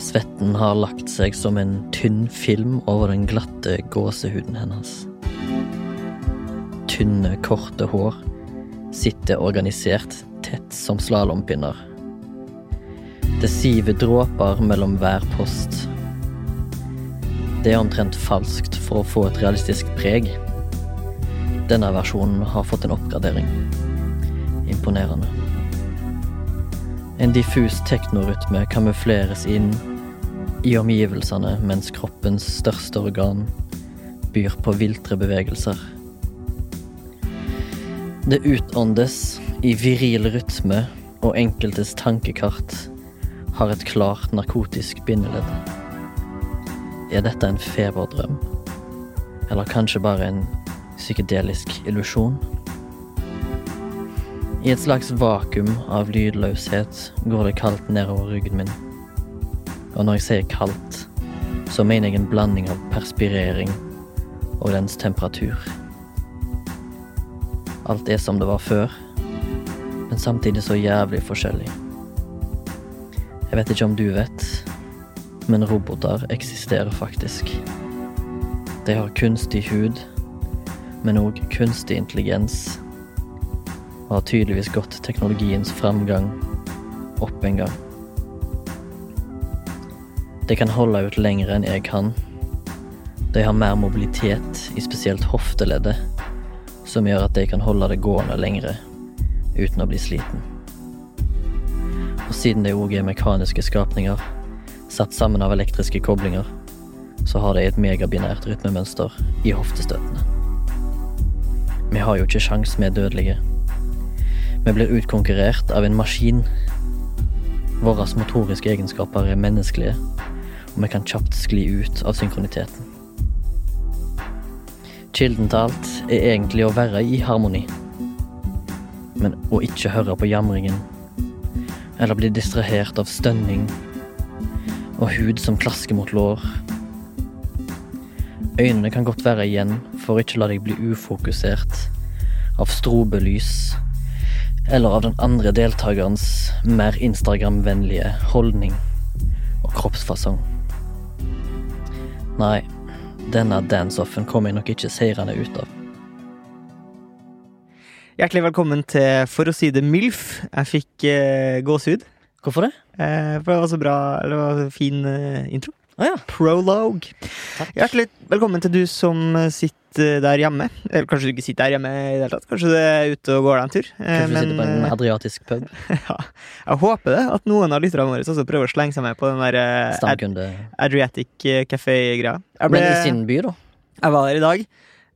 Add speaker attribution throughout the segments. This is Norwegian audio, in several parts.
Speaker 1: Svetten har lagt seg som en tynn film over den glatte gåsehuden hennes. Tynne, korte hår sitter organisert tett som slalåmpinner. Det siver dråper mellom hver post. Det er omtrent falskt for å få et realistisk preg. Denne versjonen har fått en oppgradering. Imponerende. En diffus teknorytme kamufleres inn i omgivelsene mens kroppens største organ byr på viltre bevegelser. Det utåndes i viril rytme, og enkeltes tankekart har et klart narkotisk bindeledd. Er dette en feberdrøm? Eller kanskje bare en psykedelisk illusjon? I et slags vakuum av lydløshet går det kaldt nedover ryggen min. Og når jeg sier kaldt, så mener jeg en blanding av perspirering og dens temperatur. Alt er som det var før, men samtidig så jævlig forskjellig. Jeg vet ikke om du vet, men roboter eksisterer faktisk. De har kunstig hud, men òg kunstig intelligens og har tydeligvis gått teknologiens framgang opp en gang. De kan holde ut lenger enn jeg kan. De har mer mobilitet i spesielt hofteleddet, som gjør at de kan holde det gående lengre uten å bli sliten. Og siden de òg er mekaniske skapninger, satt sammen av elektriske koblinger, så har de et megabinært rytmemønster i hoftestøtene. Vi har jo ikke sjans, vi er dødelige. Vi blir utkonkurrert av en maskin. Våre motoriske egenskaper er menneskelige, og vi kan kjapt skli ut av synkroniteten. Kilden til alt er egentlig å være i harmoni, men å ikke høre på jamringen, eller bli distrahert av stønning og hud som klasker mot lår. Øynene kan godt være igjen for å ikke la deg bli ufokusert av strobelys eller av den andre deltakerens mer Instagram-vennlige holdning og kroppsfasong. Nei, denne dance-offen kommer jeg nok ikke seirende ut av.
Speaker 2: Hjertelig velkommen til For å si det MILF. Jeg fikk eh, gåsehud.
Speaker 1: Hvorfor det?
Speaker 2: Eh, for det var så bra, eller det var så fin eh, intro.
Speaker 1: Å ja.
Speaker 2: Prologue. Hjertelig velkommen til du som eh, sitter der hjemme. Eller kanskje du ikke sitter der hjemme i det hele tatt. Kanskje du er ute og går deg en tur. Eh,
Speaker 1: Kanskje vi
Speaker 2: men,
Speaker 1: sitter på en
Speaker 2: eh,
Speaker 1: adriatisk pub?
Speaker 2: ja, jeg håper det, at noen av lytterne våre også prøver å slenge seg med på den der eh, Ad
Speaker 1: Stamkunde.
Speaker 2: Adriatic Café-greia. Jeg,
Speaker 1: Men i
Speaker 2: ble-
Speaker 1: sin by, da?
Speaker 2: jeg var der i dag.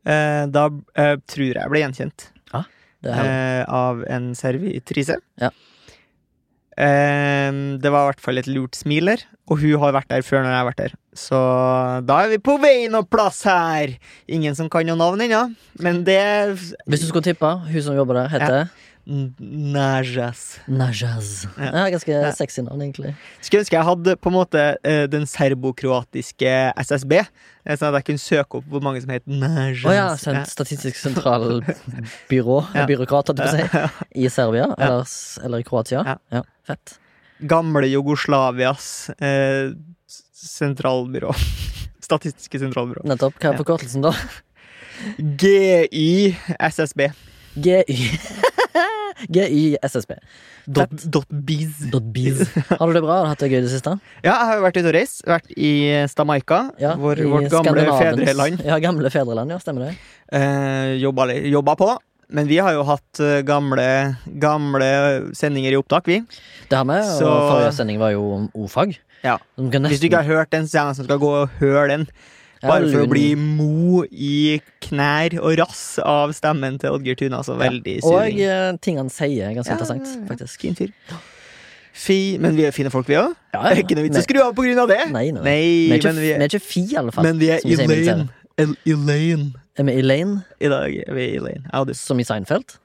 Speaker 2: Eh, da eh, tror jeg jeg ble gjenkjent.
Speaker 1: Det er,
Speaker 2: eh, av en servitrise.
Speaker 1: Ja.
Speaker 2: Eh, det var i hvert fall et lurt smil der, og hun har vært der før når jeg har vært der. Så da er vi på vei noe plass her! Ingen som kan noe navn ennå, men det er
Speaker 1: hvis du skulle tippe, hun som jobber der, heter
Speaker 2: N- Najas.
Speaker 1: Najaz.
Speaker 2: Ja.
Speaker 1: Ja, ganske
Speaker 2: Ja.
Speaker 1: sexy navn, egentlig.
Speaker 2: Skulle ønske jeg hadde på en måte eh, den serbokroatiske SSB, eh, sånn at jeg kunne søke opp hvor mange som het Najas.
Speaker 1: Å ja, sent- Statistisk sentralbyrå,
Speaker 2: Ja.
Speaker 1: byråkrat, holdt jeg på å si.
Speaker 2: Ja.
Speaker 1: I Serbia, eller, s- eller i Kroatia. Ja.
Speaker 2: Ja.
Speaker 1: Fett.
Speaker 2: Eh, Gamle Jugoslavias eh, s- sentralbyrå. Statistiske sentralbyrå.
Speaker 1: Nettopp. Hva er forkortelsen, da?
Speaker 2: GY SSB.
Speaker 1: GY. GYSSB.
Speaker 2: Dot,
Speaker 1: Fett.
Speaker 2: dot biz.
Speaker 1: Dot biz. Har du det bra? Har du hatt det gøy i det siste?
Speaker 2: Ja, jeg har jo vært ute og reist. Vært i Stamaica,
Speaker 1: Ja,
Speaker 2: vår,
Speaker 1: i
Speaker 2: vårt gamle
Speaker 1: Skandinaviens-
Speaker 2: fedreland.
Speaker 1: Ja, gamle fedreland, ja. Stemmer det.
Speaker 2: Eh, jobba, li- jobba på. Men vi har jo hatt eh, gamle, gamle sendinger i opptak, vi.
Speaker 1: Det har vi, og
Speaker 2: Så-
Speaker 1: forrige sending var jo om o-fag.
Speaker 2: Ja.
Speaker 1: Du kan
Speaker 2: Hvis du ikke har hørt den, så er det noen som skal gå og høre den.
Speaker 1: Ja,
Speaker 2: Bare for å
Speaker 1: lun.
Speaker 2: bli mo i knær og rass av stemmen til Oddgeir Tune. Altså, veldig
Speaker 1: Og
Speaker 2: suging.
Speaker 1: eh, ting han sier. Ganske
Speaker 2: Ja,
Speaker 1: interessant,
Speaker 2: ja, ja.
Speaker 1: faktisk.
Speaker 2: Fin fyr. Fi, men vi er fine folk, vi òg.
Speaker 1: Ja,
Speaker 2: Det er ikke noe vits å skru av på grunn av det.
Speaker 1: Nei, nei. Vi er
Speaker 2: Nei,
Speaker 1: ikke,
Speaker 2: men vi
Speaker 1: vi
Speaker 2: er,
Speaker 1: er ikke fi, i alle fall.
Speaker 2: men vi er
Speaker 1: som vi sier i
Speaker 2: Elaine. El Elaine.
Speaker 1: Er vi Elaine,
Speaker 2: I dag er vi Elaine. Jeg hadde
Speaker 1: som i Seinfeld?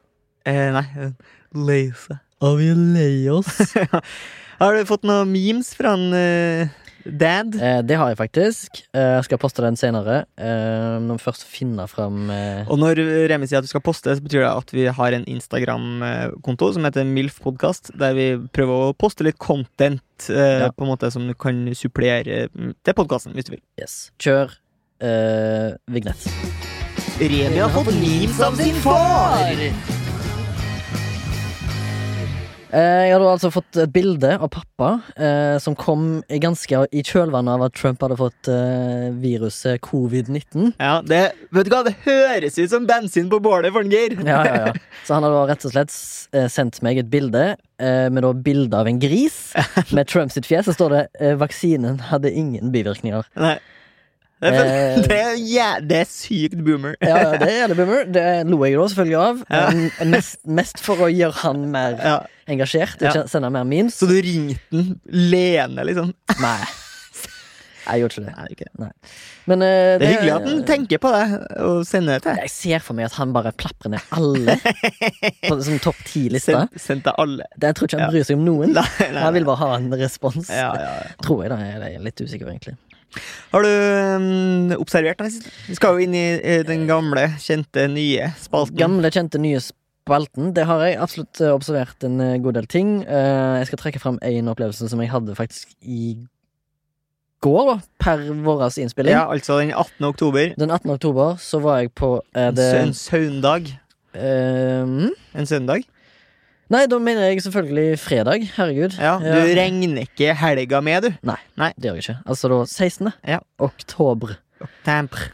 Speaker 2: eh, Nei. eh, Leise. Å, vi er lei oss. Har du fått noen memes fra en eh, dad?
Speaker 1: Eh, det har jeg faktisk. Eh, jeg skal poste den senere. Eh, når vi først finner fram eh,
Speaker 2: Og når Remi sier at du skal poste, så betyr det at vi har en Instagram-konto som heter MILFpodkast, der vi prøver å poste litt content eh,
Speaker 1: Ja.
Speaker 2: på en måte som du kan supplere mm, til podkasten, hvis du vil.
Speaker 1: Yes. Kjør eh, vignett.
Speaker 2: Remi har fått memes av sin far!
Speaker 1: Eh, Jeg hadde altså fått et bilde av pappa eh, som kom ganske i kjølvannet av at Trump hadde fått eh, viruset covid-19.
Speaker 2: Ja, det, vet du hva, det høres ut som bensin på bålet for en Geir!
Speaker 1: Ja, ja, ja. Så han hadde da rett og slett s- eh, sendt meg et bilde eh, med da bilde av en gris med Trump sitt fjes. Så står det eh, 'vaksinen hadde ingen bivirkninger'.
Speaker 2: Nei. Det, er,
Speaker 1: Eh.
Speaker 2: det, er, jæ- det er sykt boomer.
Speaker 1: Ja, ja, det er det bummer. Det lo jeg da selvfølgelig av. Eh, Mest, mest for å gjøre han mer
Speaker 2: Ja,
Speaker 1: engasjert.
Speaker 2: Ja.
Speaker 1: Ja. Sende mer memes.
Speaker 2: så du ringte den lene, liksom?
Speaker 1: Nei. Jeg gjorde ikke det.
Speaker 2: Nei, ikke det.
Speaker 1: Men eh,
Speaker 2: Det er hyggelig at den tenker på deg og sender det til.
Speaker 1: Jeg ser for meg at han bare plaprer ned alle på som topp ti-lista.
Speaker 2: Send, send til alle.
Speaker 1: Jeg tror ikke
Speaker 2: Ja.
Speaker 1: han bryr seg om noen.
Speaker 2: Nei, nei,
Speaker 1: Han Mm. vil bare ha en respons.
Speaker 2: Ja, ja, ja.
Speaker 1: Tror jeg da, jeg er litt usikker egentlig.
Speaker 2: Har du mm, observert den siste? Vi skal jo inn i eh, den gamle, kjente, nye spalten.
Speaker 1: Gamle, kjente, nye spalten. Det har jeg absolutt eh, observert en eh, god del ting. Eh, Jeg skal trekke fram en opplevelse som jeg hadde faktisk i går, da, per vår innspilling.
Speaker 2: ja, altså den 18. oktober.
Speaker 1: Den 18. oktober så var jeg på eh,
Speaker 2: En
Speaker 1: det
Speaker 2: sø- en søndag.
Speaker 1: eh, mm.
Speaker 2: En søndag.
Speaker 1: Nei, da mener jeg selvfølgelig fredag. Herregud. Eh,
Speaker 2: Ja, du
Speaker 1: Ja.
Speaker 2: regner ikke helga med, du.
Speaker 1: Det gjør jeg ikke. Altså da 16.
Speaker 2: Ja.
Speaker 1: oktober.
Speaker 2: Tempr.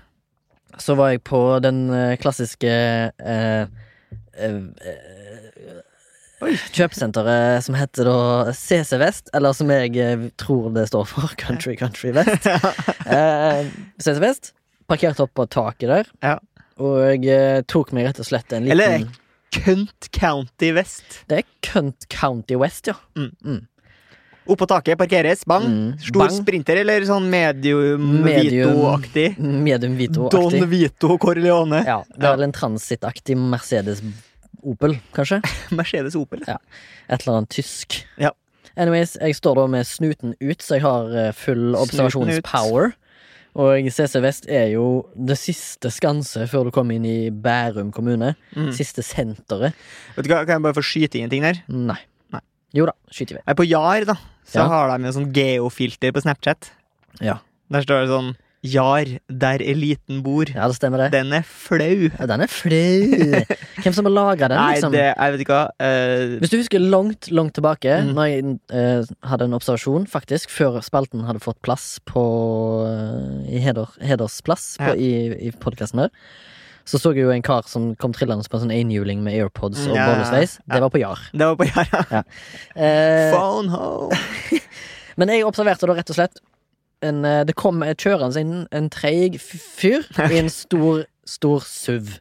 Speaker 1: så var jeg på den eh, klassiske eh, eh, eh,
Speaker 2: Oi.
Speaker 1: Kjøpesenteret som heter da CC Vest, eller som jeg eh, tror det står for, Country Country Vest. Eh, CC Vest. Parkerte opp på taket der,
Speaker 2: Ja.
Speaker 1: og eh, tok meg rett og slett en liten
Speaker 2: Eller Cunt County Vest.
Speaker 1: Det er Cunt County West, ja.
Speaker 2: Opp på taket parkeres. Bang.
Speaker 1: Mm,
Speaker 2: Stor
Speaker 1: bang.
Speaker 2: sprinter, eller sånn medium,
Speaker 1: Medium.
Speaker 2: Vito-aktig.
Speaker 1: Medium Vito-aktig.
Speaker 2: Don Vito Corleone.
Speaker 1: Ja, det er vel en transittaktig Mercedes Opel, kanskje?
Speaker 2: Mercedes Opel.
Speaker 1: Et eller annet tysk.
Speaker 2: Ja.
Speaker 1: Anyways, jeg står da med snuten ut, så jeg har eh, full
Speaker 2: Snuten
Speaker 1: observasjonspower. Og CC Vest er jo det siste skanse før du kommer inn i Bærum kommune.
Speaker 2: Mm.
Speaker 1: Siste senteret.
Speaker 2: Vet du hva, Kan jeg bare få skyte inn en ting der?
Speaker 1: Nei.
Speaker 2: Nei.
Speaker 1: Jo da, skyter vi.
Speaker 2: Jeg er på JAR, da. Så
Speaker 1: Ja.
Speaker 2: har de jo sånn geofilter på Snapchat.
Speaker 1: Ja.
Speaker 2: Der står det sånn JAR, der eliten bor.
Speaker 1: Ja, det stemmer det.
Speaker 2: Den er flau.
Speaker 1: Ja, den er flau. Hvem som har laga den,
Speaker 2: Nei,
Speaker 1: liksom?
Speaker 2: det, jeg vet ikke hva. eh,
Speaker 1: Hvis du husker langt, langt tilbake,
Speaker 2: Mm.
Speaker 1: når jeg eh, hadde en observasjon, faktisk, før spalten hadde fått plass på eh, i heder, hedersplass på,
Speaker 2: Ja.
Speaker 1: i, i podkasten her, så så jeg jo en kar som kom trillende på en sånn enhjuling med airpods og
Speaker 2: Mm, ja, ja, ja.
Speaker 1: bollesveis. Det var på JAR.
Speaker 2: det var på JAR, ja.
Speaker 1: Eh,
Speaker 2: Phone home.
Speaker 1: men jeg observerte da rett og slett en, eh, Det kom eh, kjørende inn en treig f- fyr i en stor, stor SUV.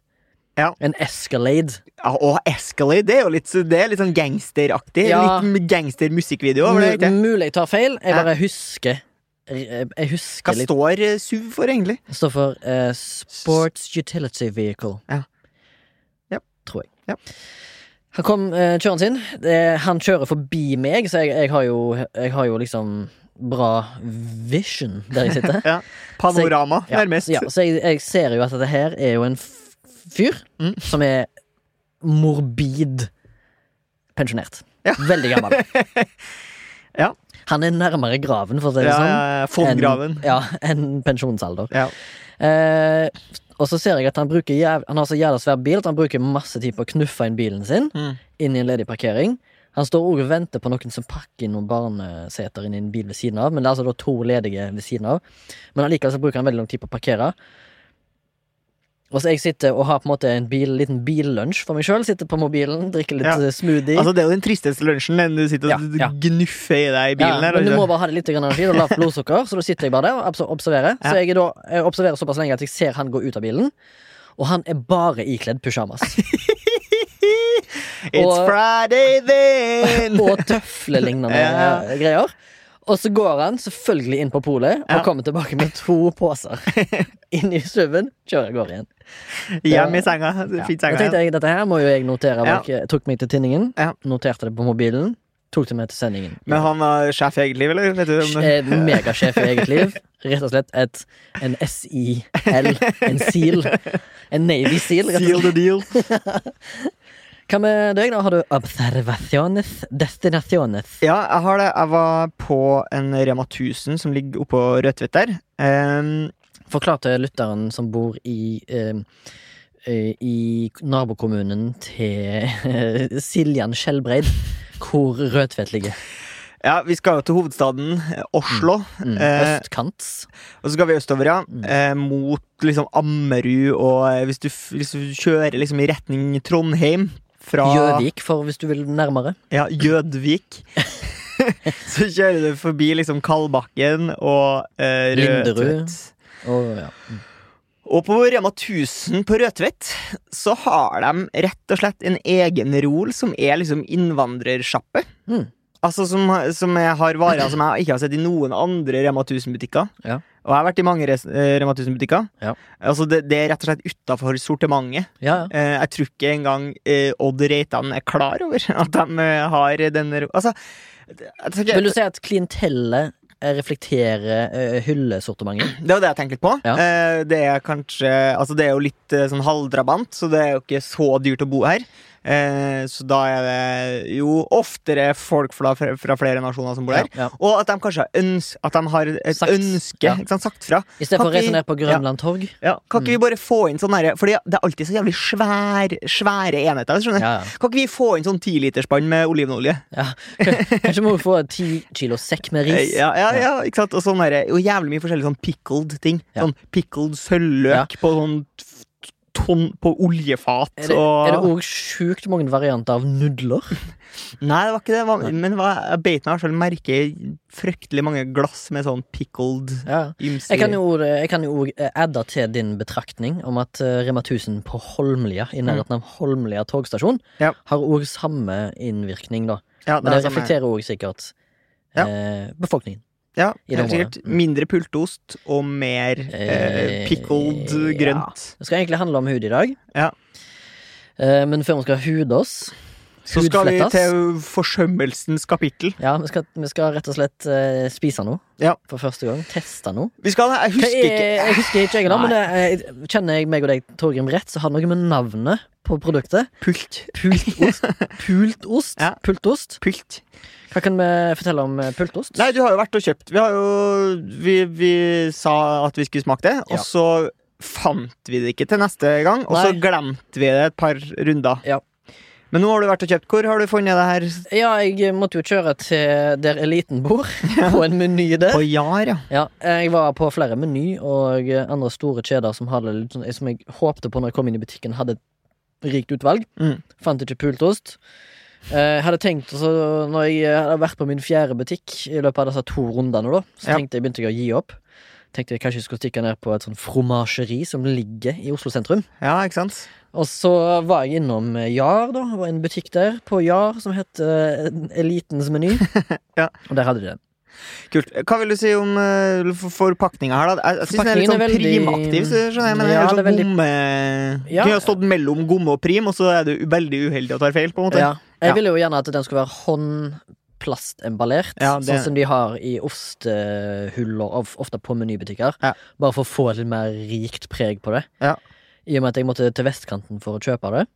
Speaker 2: Ja.
Speaker 1: En Escalade.
Speaker 2: Ja, og Escalade, det er jo litt, så- det er litt sånn gangsteraktig.
Speaker 1: Ja.
Speaker 2: Litt gangstermusikkvideo over det. ikke?
Speaker 1: Mu- Mulig jeg tar feil. Jeg
Speaker 2: Ja.
Speaker 1: bare husker. Jeg husker
Speaker 2: Hva
Speaker 1: litt
Speaker 2: står eh, SUV for, egentlig?
Speaker 1: Det står for eh, Sports Utility Vehicle.
Speaker 2: Ja. Ja.
Speaker 1: Tror jeg.
Speaker 2: Ja.
Speaker 1: Han kom eh, kjørende sin. Eh, han kjører forbi meg, så jeg, jeg, har jo, jeg har jo liksom bra vision der jeg sitter.
Speaker 2: Ja. Panorama,
Speaker 1: Ja,
Speaker 2: nærmest.
Speaker 1: Ja, så jeg, jeg ser jo at dette her er jo en f- fyr
Speaker 2: Mm.
Speaker 1: som er morbid pensjonert.
Speaker 2: Ja.
Speaker 1: Veldig gammel.
Speaker 2: Ja.
Speaker 1: Han er nærmere graven, for å si det sånn.
Speaker 2: Ja, Fondgraven.
Speaker 1: enn- Ja, enn pensjonsalder.
Speaker 2: Ja.
Speaker 1: Eh, og så ser jeg at han bruker jæv Han har så jævla svær bil at han bruker masse tid på å knuffe inn bilen sin
Speaker 2: Mm.
Speaker 1: inn i en ledig parkering. Han står også og venter på noen som pakker inn noen barneseter inn i en bil ved siden av. Men det er altså da to ledige ved siden av. Men allikevel så bruker han veldig lang tid på å parkere. Og så jeg sitter og har på en måte en bil, liten billunsj for meg sjøl. Sitter på mobilen, drikker litt
Speaker 2: Ja.
Speaker 1: eh, smoothie.
Speaker 2: Altså, det er jo den tristeste lunsjen, den du sitter og
Speaker 1: Ja, ja.
Speaker 2: gnuffer i deg i bilen.
Speaker 1: ja,
Speaker 2: her,
Speaker 1: men du
Speaker 2: ikke?
Speaker 1: må bare ha det litt grann energi og lavt blodsukker, så da sitter jeg bare der og abs- observerer. Så
Speaker 2: Ja.
Speaker 1: jeg, er da, jeg observerer såpass lenge at jeg ser han gå ut av bilen, og han er bare ikledd pysjamas.
Speaker 2: It's
Speaker 1: Og-
Speaker 2: Friday then!
Speaker 1: og tøflelignende
Speaker 2: Ja.
Speaker 1: eh, greier. Og så går han selvfølgelig inn på polet og
Speaker 2: Ja.
Speaker 1: kommer tilbake med to poser. inn i SUV-en, kjører av gårde igjen.
Speaker 2: Hjem i senga. Fint
Speaker 1: Da
Speaker 2: senga.
Speaker 1: tenkte jeg, Dette her må jo jeg notere.
Speaker 2: Ja.
Speaker 1: bak- Jeg tok meg til tinningen,
Speaker 2: Ja.
Speaker 1: noterte det på mobilen, tok det med til sendingen.
Speaker 2: Men han var sjef i eget liv, eller? Vet du, om det-
Speaker 1: Eh, Megasjef i eget liv. Rett og slett et, en SIL, en SEAL. En Navy SEAL, rett og slett.
Speaker 2: Seal the deal.
Speaker 1: Hva med deg, da? Har du observaciones destinaciones?
Speaker 2: Ja, jeg har det. Jeg var på en Rema 1000 som ligger oppå Rødtvet der. Em,
Speaker 1: Forklar til lytteren som bor i eh, eh, i nabokommunen til Siljan Skjelbreid, hvor Rødtvet ligger.
Speaker 2: ja, vi skal jo til hovedstaden, eh, Oslo.
Speaker 1: Mm.
Speaker 2: Eh,
Speaker 1: Østkants.
Speaker 2: Og så skal vi østover, ja.
Speaker 1: Mm.
Speaker 2: Eh, mot liksom Ammerud og eh, hvis du, f- hvis du kjører liksom i retning Trondheim fra
Speaker 1: Gjøvik, for hvis du vil nærmere.
Speaker 2: Ja, Gjødvik. så kjører du forbi liksom Kalbakken og eh,
Speaker 1: Linderud.
Speaker 2: Rødtvet.
Speaker 1: Og, ja.
Speaker 2: Og på Rema 1000 på Rødtvet så har de rett og slett en egen rol som er liksom innvandrersjappe.
Speaker 1: Mm.
Speaker 2: Altså som, som jeg har varer som jeg ikke har sett i noen andre Rema 1000-butikker.
Speaker 1: Ja.
Speaker 2: Og jeg har vært i mange res- eh, Rema 1000-butikker.
Speaker 1: Ja.
Speaker 2: Altså det, det er rett og slett utafor sortimentet.
Speaker 1: ja, ja.
Speaker 2: Eh, jeg tror ikke engang eh, Odd Reitan er klar over at de eh, har den ro- Altså jeg tror ikke-
Speaker 1: Vil du si at klientellet eh, reflekterer eh, hyllesortimentet?
Speaker 2: Det er jo det jeg tenker litt på.
Speaker 1: Ja.
Speaker 2: Eh, det er kanskje Altså, det er jo litt eh, sånn halvdrabant, så det er jo ikke så dyrt å bo her. Eh, så da er det jo oftere folk fra, fra flere nasjoner som bor her.
Speaker 1: Ja, ja.
Speaker 2: Og at de kanskje har, øns at de har et
Speaker 1: Sagt.
Speaker 2: ønske.
Speaker 1: Ja.
Speaker 2: Ikke sant, sagt fra.
Speaker 1: I stedet for å
Speaker 2: Kan ikke-
Speaker 1: reise ned på Grønland torg?
Speaker 2: Ja, kan
Speaker 1: Mm.
Speaker 2: ikke vi bare få inn sånn herre Fordi det er alltid så jævlig svær, svære enheter. skjønner du?
Speaker 1: Ja, ja.
Speaker 2: Kan ikke vi få inn sånn tiliterspann med olivenolje?
Speaker 1: ja. Kanskje må vi få ti kilo sekk med
Speaker 2: Eh,
Speaker 1: ris?
Speaker 2: Ja, ja, ja, ikke sant? Og, sånn derre- og jævlig mye forskjellig sånn pickled ting.
Speaker 1: Ja.
Speaker 2: Sånn pickled sølvløk på sånn f- tonn på oljefat
Speaker 1: Er det,
Speaker 2: og
Speaker 1: er det òg sjukt mange varianter av nudler?
Speaker 2: Nei, det var ikke det. det Var, men hva, jeg beit meg i hvert fall merke i fryktelig mange glass med sånn pickled
Speaker 1: Ja.
Speaker 2: ymse
Speaker 1: Jeg kan jo jeg kan jo eh, adde til din betraktning om at eh, Rema 1000 på Holmlia, i nærheten av Holmlia togstasjon,
Speaker 2: Mm. Ja.
Speaker 1: har òg samme innvirkning, da.
Speaker 2: ja,
Speaker 1: Men det
Speaker 2: er sånn-
Speaker 1: reflekterer òg sikkert
Speaker 2: Ja.
Speaker 1: eh, befolkningen.
Speaker 2: ja,
Speaker 1: i
Speaker 2: helt
Speaker 1: det området.
Speaker 2: sikkert. Mindre pultost og mer eh,
Speaker 1: Eh,
Speaker 2: pickled
Speaker 1: ja.
Speaker 2: grønt.
Speaker 1: Det skal egentlig handle om hud i dag,
Speaker 2: Ja.
Speaker 1: Eh, men før vi skal hude oss
Speaker 2: Så skal vi
Speaker 1: hudflettes.
Speaker 2: til forsømmelsens kapittel.
Speaker 1: Ja, vi skal, vi skal rett og slett eh, spise noe
Speaker 2: Ja.
Speaker 1: for første gang. Teste noe.
Speaker 2: Vi skal Jeg
Speaker 1: Hva
Speaker 2: husker
Speaker 1: er,
Speaker 2: ikke
Speaker 1: jeg husker ikke, jeg, da,
Speaker 2: Nei.
Speaker 1: men det, eh, kjenner jeg meg og deg, Torgrim, rett, så har det noe med navnet på produktet.
Speaker 2: Pult.
Speaker 1: Pultost. Pultost.
Speaker 2: Ja.
Speaker 1: Pultost.
Speaker 2: Pult.
Speaker 1: Hva kan vi fortelle om eh, pultost?
Speaker 2: Nei, du har jo vært og kjøpt. Vi har jo Vi, vi sa at vi skulle smake det,
Speaker 1: Ja.
Speaker 2: og så fant vi det ikke til neste gang, og så
Speaker 1: Nei.
Speaker 2: glemte vi det et par runder.
Speaker 1: Ja.
Speaker 2: Men nå har du vært og kjøpt. Hvor har du funnet det her?
Speaker 1: Ja, jeg måtte jo kjøre til der eliten bor, på en meny der.
Speaker 2: På Jar, ja.
Speaker 1: Ja, eh, jeg var på flere meny og eh, andre store kjeder som, hadde litt sånn, som jeg håpte på når jeg kom inn i butikken, hadde et rikt utvalg.
Speaker 2: Mm.
Speaker 1: Fant ikke pultost. Eh, hadde tenkt også, Når jeg eh, hadde vært på min fjerde butikk i løpet av disse to rundene, da, så
Speaker 2: Ja.
Speaker 1: tenkte jeg, begynte jeg å gi opp. Tenkte jeg kanskje jeg skulle stikke ned på et sånn fromasjeri som ligger i Oslo sentrum.
Speaker 2: Ja, ikke sant?
Speaker 1: Og så var jeg innom eh, Jar, da. Det var en butikk der på Jar som het eh, Elitens meny.
Speaker 2: Ja.
Speaker 1: Og der hadde de den.
Speaker 2: Kult. Hva vil du si om eh, for- forpakninga her, da? Jeg, jeg syns den er litt
Speaker 1: Forpakningen
Speaker 2: sånn
Speaker 1: er veldig-
Speaker 2: primaktiv, så skjønner jeg. Men
Speaker 1: Ja,
Speaker 2: det er
Speaker 1: det er
Speaker 2: sånn
Speaker 1: veldig-
Speaker 2: gomme
Speaker 1: Ja.
Speaker 2: Du kunne ha stått mellom gomme og prim, og så er du veldig uheldig og tar feil, på en måte.
Speaker 1: Ja. Jeg
Speaker 2: Ja.
Speaker 1: ville jo gjerne at den skulle være håndplastemballert,
Speaker 2: Ja, det-
Speaker 1: sånn som de har i ostehuller, of- ofte på menybutikker.
Speaker 2: Ja.
Speaker 1: Bare for å få et litt mer rikt preg på det.
Speaker 2: Ja.
Speaker 1: I og med at jeg måtte til vestkanten for å kjøpe det,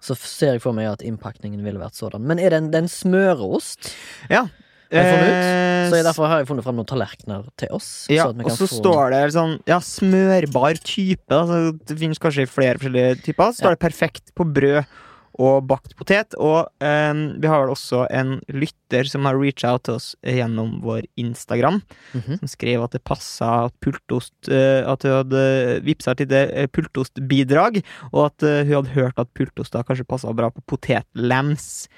Speaker 1: så f- ser jeg for meg at innpakningen ville vært sådan. Men er det en, det er en smøreost? jeg får
Speaker 2: Eh,
Speaker 1: Så jeg derfor har jeg funnet fram noen tallerkener til oss.
Speaker 2: Ja,
Speaker 1: at vi
Speaker 2: og
Speaker 1: kan
Speaker 2: så
Speaker 1: få-
Speaker 2: står det sånn Ja, smørbar type. Altså, det finnes kanskje flere forskjellige typer. Så står det perfekt på brød og bakt potet. Og ehm, vi har vel også en lytter som har reacha out til oss gjennom vår Instagram,
Speaker 1: Mhm.
Speaker 2: som skrev at det passa at pultost eh, At hun hadde vippsa et lite eh, pultostbidrag, og at eh, hun hadde hørt at pultoster kanskje passa bra på potetlams.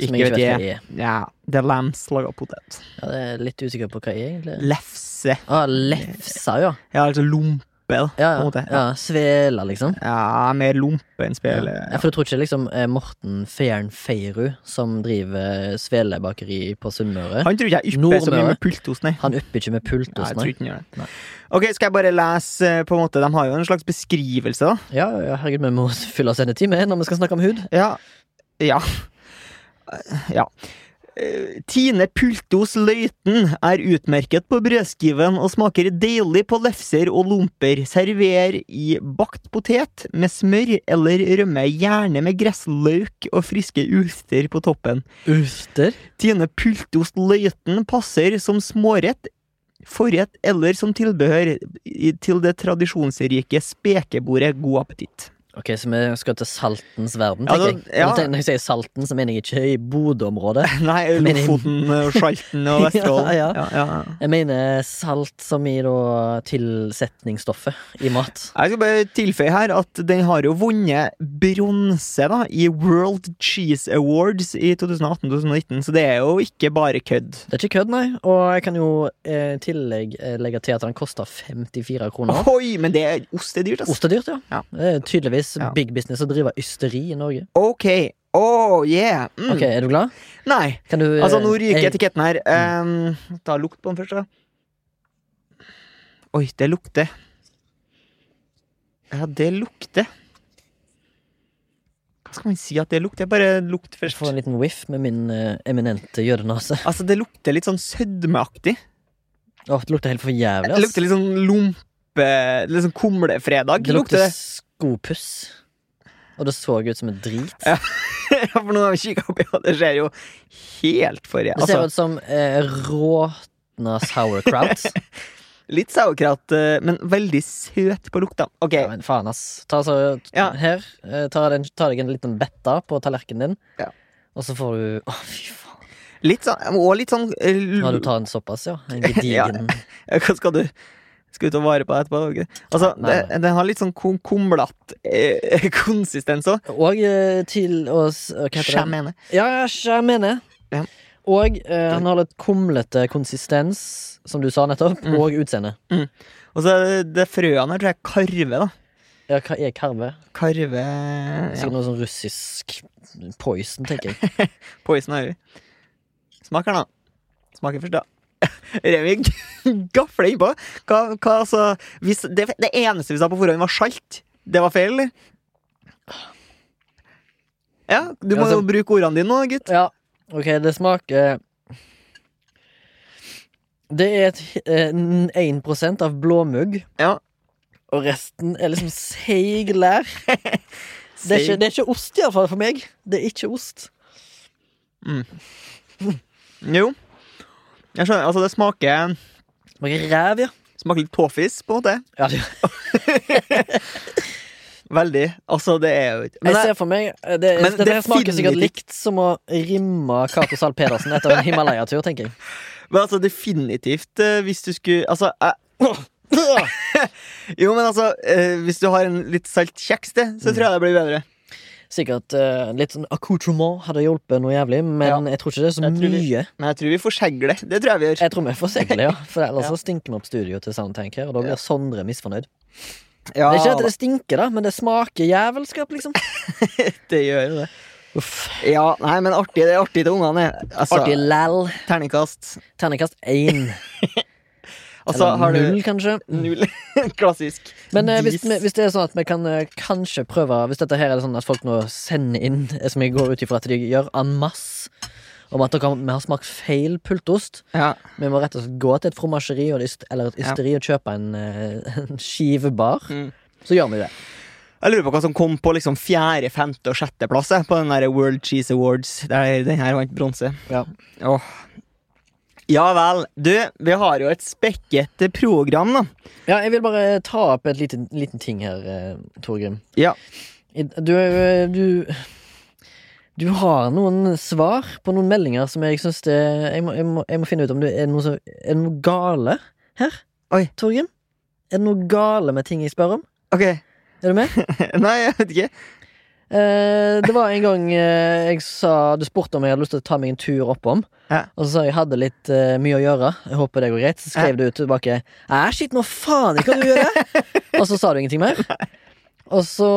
Speaker 1: Som
Speaker 2: Ikke
Speaker 1: jeg ikke
Speaker 2: vet
Speaker 1: vet hva
Speaker 2: jeg.
Speaker 1: er.
Speaker 2: Ja, det er lams laga potet.
Speaker 1: Ja, det er litt usikker på hva jeg egentlig er.
Speaker 2: Lefse.
Speaker 1: Ah, lefsa, ja.
Speaker 2: Ja, altså lompe lompe, da.
Speaker 1: Ja,
Speaker 2: på
Speaker 1: ja.
Speaker 2: en måte.
Speaker 1: ja Svela, liksom.
Speaker 2: Ja, mer lompe enn spele.
Speaker 1: Ja, for du tror ikke liksom eh, Morten Feiren Feiru, som driver eh, Svelebakeri på Sunnmøre
Speaker 2: Han tror ikke jeg ypper så mye
Speaker 1: Nordmøre.
Speaker 2: med pultost, nei.
Speaker 1: Han upper ikke med
Speaker 2: Nei, jeg
Speaker 1: pultost,
Speaker 2: tror
Speaker 1: nei?
Speaker 2: ikke han gjør det.
Speaker 1: Nei.
Speaker 2: Ok, skal jeg bare lese eh, på en måte De har jo en slags beskrivelse, da.
Speaker 1: Ja, ja, herregud, vi må fylle oss en time når vi skal snakke om hud.
Speaker 2: Ja. Ja. ja. Eh, Tine Pultos Løiten er utmerket på brødskiven og smaker deilig på lefser og lomper. Server i bakt potet med smør eller rømme, gjerne med gressløk og friske urter på toppen.
Speaker 1: Urter?
Speaker 2: Tine Pultos Løiten passer som smårett, forrett eller som tilbehør i- til det tradisjonsrike spekebordet. God appetitt.
Speaker 1: Ok, så vi skal til saltens verden,
Speaker 2: Ja,
Speaker 1: tenker
Speaker 2: da-
Speaker 1: jeg.
Speaker 2: ja.
Speaker 1: Når jeg tenker- Når jeg sier salten, så mener jeg ikke i Bodø-området.
Speaker 2: Nei,
Speaker 1: Men-
Speaker 2: Lofoten eh, og Skjalten og Vesterålen.
Speaker 1: Ja, ja.
Speaker 2: Ja, ja.
Speaker 1: Jeg mener salt som i da tilsetningsstoffet i mat.
Speaker 2: Jeg skal bare tilføye her at den har jo vunnet bronse da, i World Cheese Awards i 2018-2019, så det er jo ikke bare kødd.
Speaker 1: Det er ikke kødd, nei. Og jeg kan jo eh, i tillegg eh, legge til at den koster 54 kroner.
Speaker 2: Oi, men det er ost er dyrt, ass.
Speaker 1: Ost er dyrt, ja.
Speaker 2: Ja.
Speaker 1: Det er tydeligvis
Speaker 2: Ja.
Speaker 1: big business å drive ysteri i Norge.
Speaker 2: Ok. Oh, yeah. Mm.
Speaker 1: Ok, Er du glad?
Speaker 2: Nei.
Speaker 1: Kan du eh,
Speaker 2: Altså, nå ryker
Speaker 1: jeg- Mm.
Speaker 2: etiketten her. Um, ta lukt på den først, da. Oi, det lukter. Ja, det lukter. Hva skal man si at det lukter? Bare lukt
Speaker 1: Jeg
Speaker 2: først.
Speaker 1: får en liten whiff med min eh, eminente jødenase.
Speaker 2: Altså, det lukter litt sånn sødmeaktig.
Speaker 1: Åh, Det lukter helt for jævlig.
Speaker 2: Det
Speaker 1: ass.
Speaker 2: lukter litt sånn lompe Litt sånn kumlefredag.
Speaker 1: det
Speaker 2: lukter
Speaker 1: lukter
Speaker 2: det.
Speaker 1: skopuss. Og det så ut som et drit.
Speaker 2: Ja, Ja, For nå har vi kikka oppi, og det ser jo helt forrige
Speaker 1: Det ser
Speaker 2: altså,
Speaker 1: ut som eh, råtna sauerkraut.
Speaker 2: Litt sauerkraut, eh, men veldig søt på lukta. Ok,
Speaker 1: ja, men faen, ass. Ta, så,
Speaker 2: Ja.
Speaker 1: Her, eh, ta, den, ta deg en liten betta på tallerkenen din,
Speaker 2: Ja.
Speaker 1: og så får du Å, fy faen.
Speaker 2: litt sånn Og litt sånn eh, l-
Speaker 1: Ja, du tar en såpass, ja? En gedigen
Speaker 2: Hva skal du Skal du ta vare på det etterpå? dere? Altså,
Speaker 1: Nei, nei.
Speaker 2: det- Den har litt sånn kum kumlete eh, konsistens òg.
Speaker 1: Og eh, til og, s- Hva heter det?
Speaker 2: mener.
Speaker 1: Ja, ja, skjær mener
Speaker 2: Ja.
Speaker 1: Og eh, han har litt kumlete konsistens, som du sa nettopp,
Speaker 2: Mm.
Speaker 1: og utseende.
Speaker 2: Og så er det- det frøene her tror jeg er karve, da.
Speaker 1: Ja, hva er karve?
Speaker 2: Karve ja.
Speaker 1: Sikkert noe sånn russisk poison, tenker jeg.
Speaker 2: Poison Ivy. Smaker den, da. Smaker først, da. Remi gafler innpå. Hva, hva altså hvis, det, det eneste vi sa på forhånd, var salt. Det var feil, eller? Ja, du må
Speaker 1: Altså-
Speaker 2: jo bruke ordene dine nå, gutt.
Speaker 1: Ja, ok, det smaker Det er et, eh, 1 av blåmugg,
Speaker 2: Ja.
Speaker 1: og resten er liksom seig lær. Det er, ikke, det er ikke ost, iallfall for meg. Det er ikke ost.
Speaker 2: Jo. Jeg skjønner, altså Det smaker,
Speaker 1: Smaker ræv, ja.
Speaker 2: smaker litt tåfis, på en måte.
Speaker 1: ja det,
Speaker 2: Veldig. Altså, det er jo ikke
Speaker 1: jeg
Speaker 2: Men jeg-
Speaker 1: ser for meg eh, det,
Speaker 2: Men
Speaker 1: Dette her smaker sikkert
Speaker 2: definitivt-
Speaker 1: likt som å rimme Cato Zahl Pedersen etter en Himalaya-tur, tenker jeg.
Speaker 2: Men altså, definitivt eh, hvis du skulle Altså, jeg jo, men altså, eh, hvis du har en litt salt kjeks, det,
Speaker 1: Mm.
Speaker 2: så tror jeg det blir bedre.
Speaker 1: Sikkert eh, litt sånn accoutrement hadde hjulpet noe jævlig, men
Speaker 2: Ja.
Speaker 1: jeg tror ikke det er så
Speaker 2: Jeg tror vi-
Speaker 1: mye.
Speaker 2: Men jeg tror vi får skjegle. Det tror jeg vi gjør.
Speaker 1: Jeg tror vi får segle, ja. For ellers
Speaker 2: Ja.
Speaker 1: så stinker vi opp studioet til Soundtank her, og da
Speaker 2: Ja.
Speaker 1: blir Sondre misfornøyd.
Speaker 2: Ja,
Speaker 1: Det er ikke at det stinker, da, men det smaker jævelskap, liksom.
Speaker 2: det gjør jo det.
Speaker 1: Uff.
Speaker 2: Ja, nei, men artig, det er artig til ungene. Altså,
Speaker 1: Artig læll.
Speaker 2: Terningkast.
Speaker 1: Terningkast én.
Speaker 2: Altså, har
Speaker 1: Eller
Speaker 2: du
Speaker 1: null, kanskje.
Speaker 2: Null. Klassisk.
Speaker 1: Men eh, hvis,
Speaker 2: Dis.
Speaker 1: vi- hvis det er sånn at vi kan eh, kanskje prøve Hvis dette her er det sånn at folk nå sender inn, eh, som jeg går ut ifra at de gjør en masse, om at dere, vi har smakt feil pultost
Speaker 2: ja.
Speaker 1: Vi må rett og slett gå til et fromasjeri og et yst- eller et
Speaker 2: Ja.
Speaker 1: ysteri og kjøpe en, eh, en skive bar.
Speaker 2: Mm.
Speaker 1: Så gjør vi det.
Speaker 2: Jeg lurer på hva som kom på liksom fjerde, femte og sjetteplass jeg, på den der World Cheese Awards. Der den her vant bronse.
Speaker 1: Ja.
Speaker 2: Åh. Ja vel. Du, vi har jo et spekket program, da.
Speaker 1: Ja, jeg vil bare ta opp en liten, liten ting her, eh, Torgrim.
Speaker 2: Ja.
Speaker 1: I- Du, eh, du Du har noen svar på noen meldinger som jeg syns det jeg må, jeg, må, jeg må finne ut om det er noe, som, er det noe gale her.
Speaker 2: Oi.
Speaker 1: Torgrim? Er det noe gale med ting jeg spør om?
Speaker 2: Ok.
Speaker 1: Er du med?
Speaker 2: Nei, jeg vet ikke.
Speaker 1: Eh, det var en gang eh, jeg sa Du spurte om jeg hadde lyst til å ta meg en tur oppom.
Speaker 2: Ja.
Speaker 1: Og så sa jeg jeg hadde litt eh, mye å gjøre. Jeg håper det går greit. Så skrev du tilbake Æ, shit, nå faen ikke hva du gjør! og så sa du ingenting mer. Og så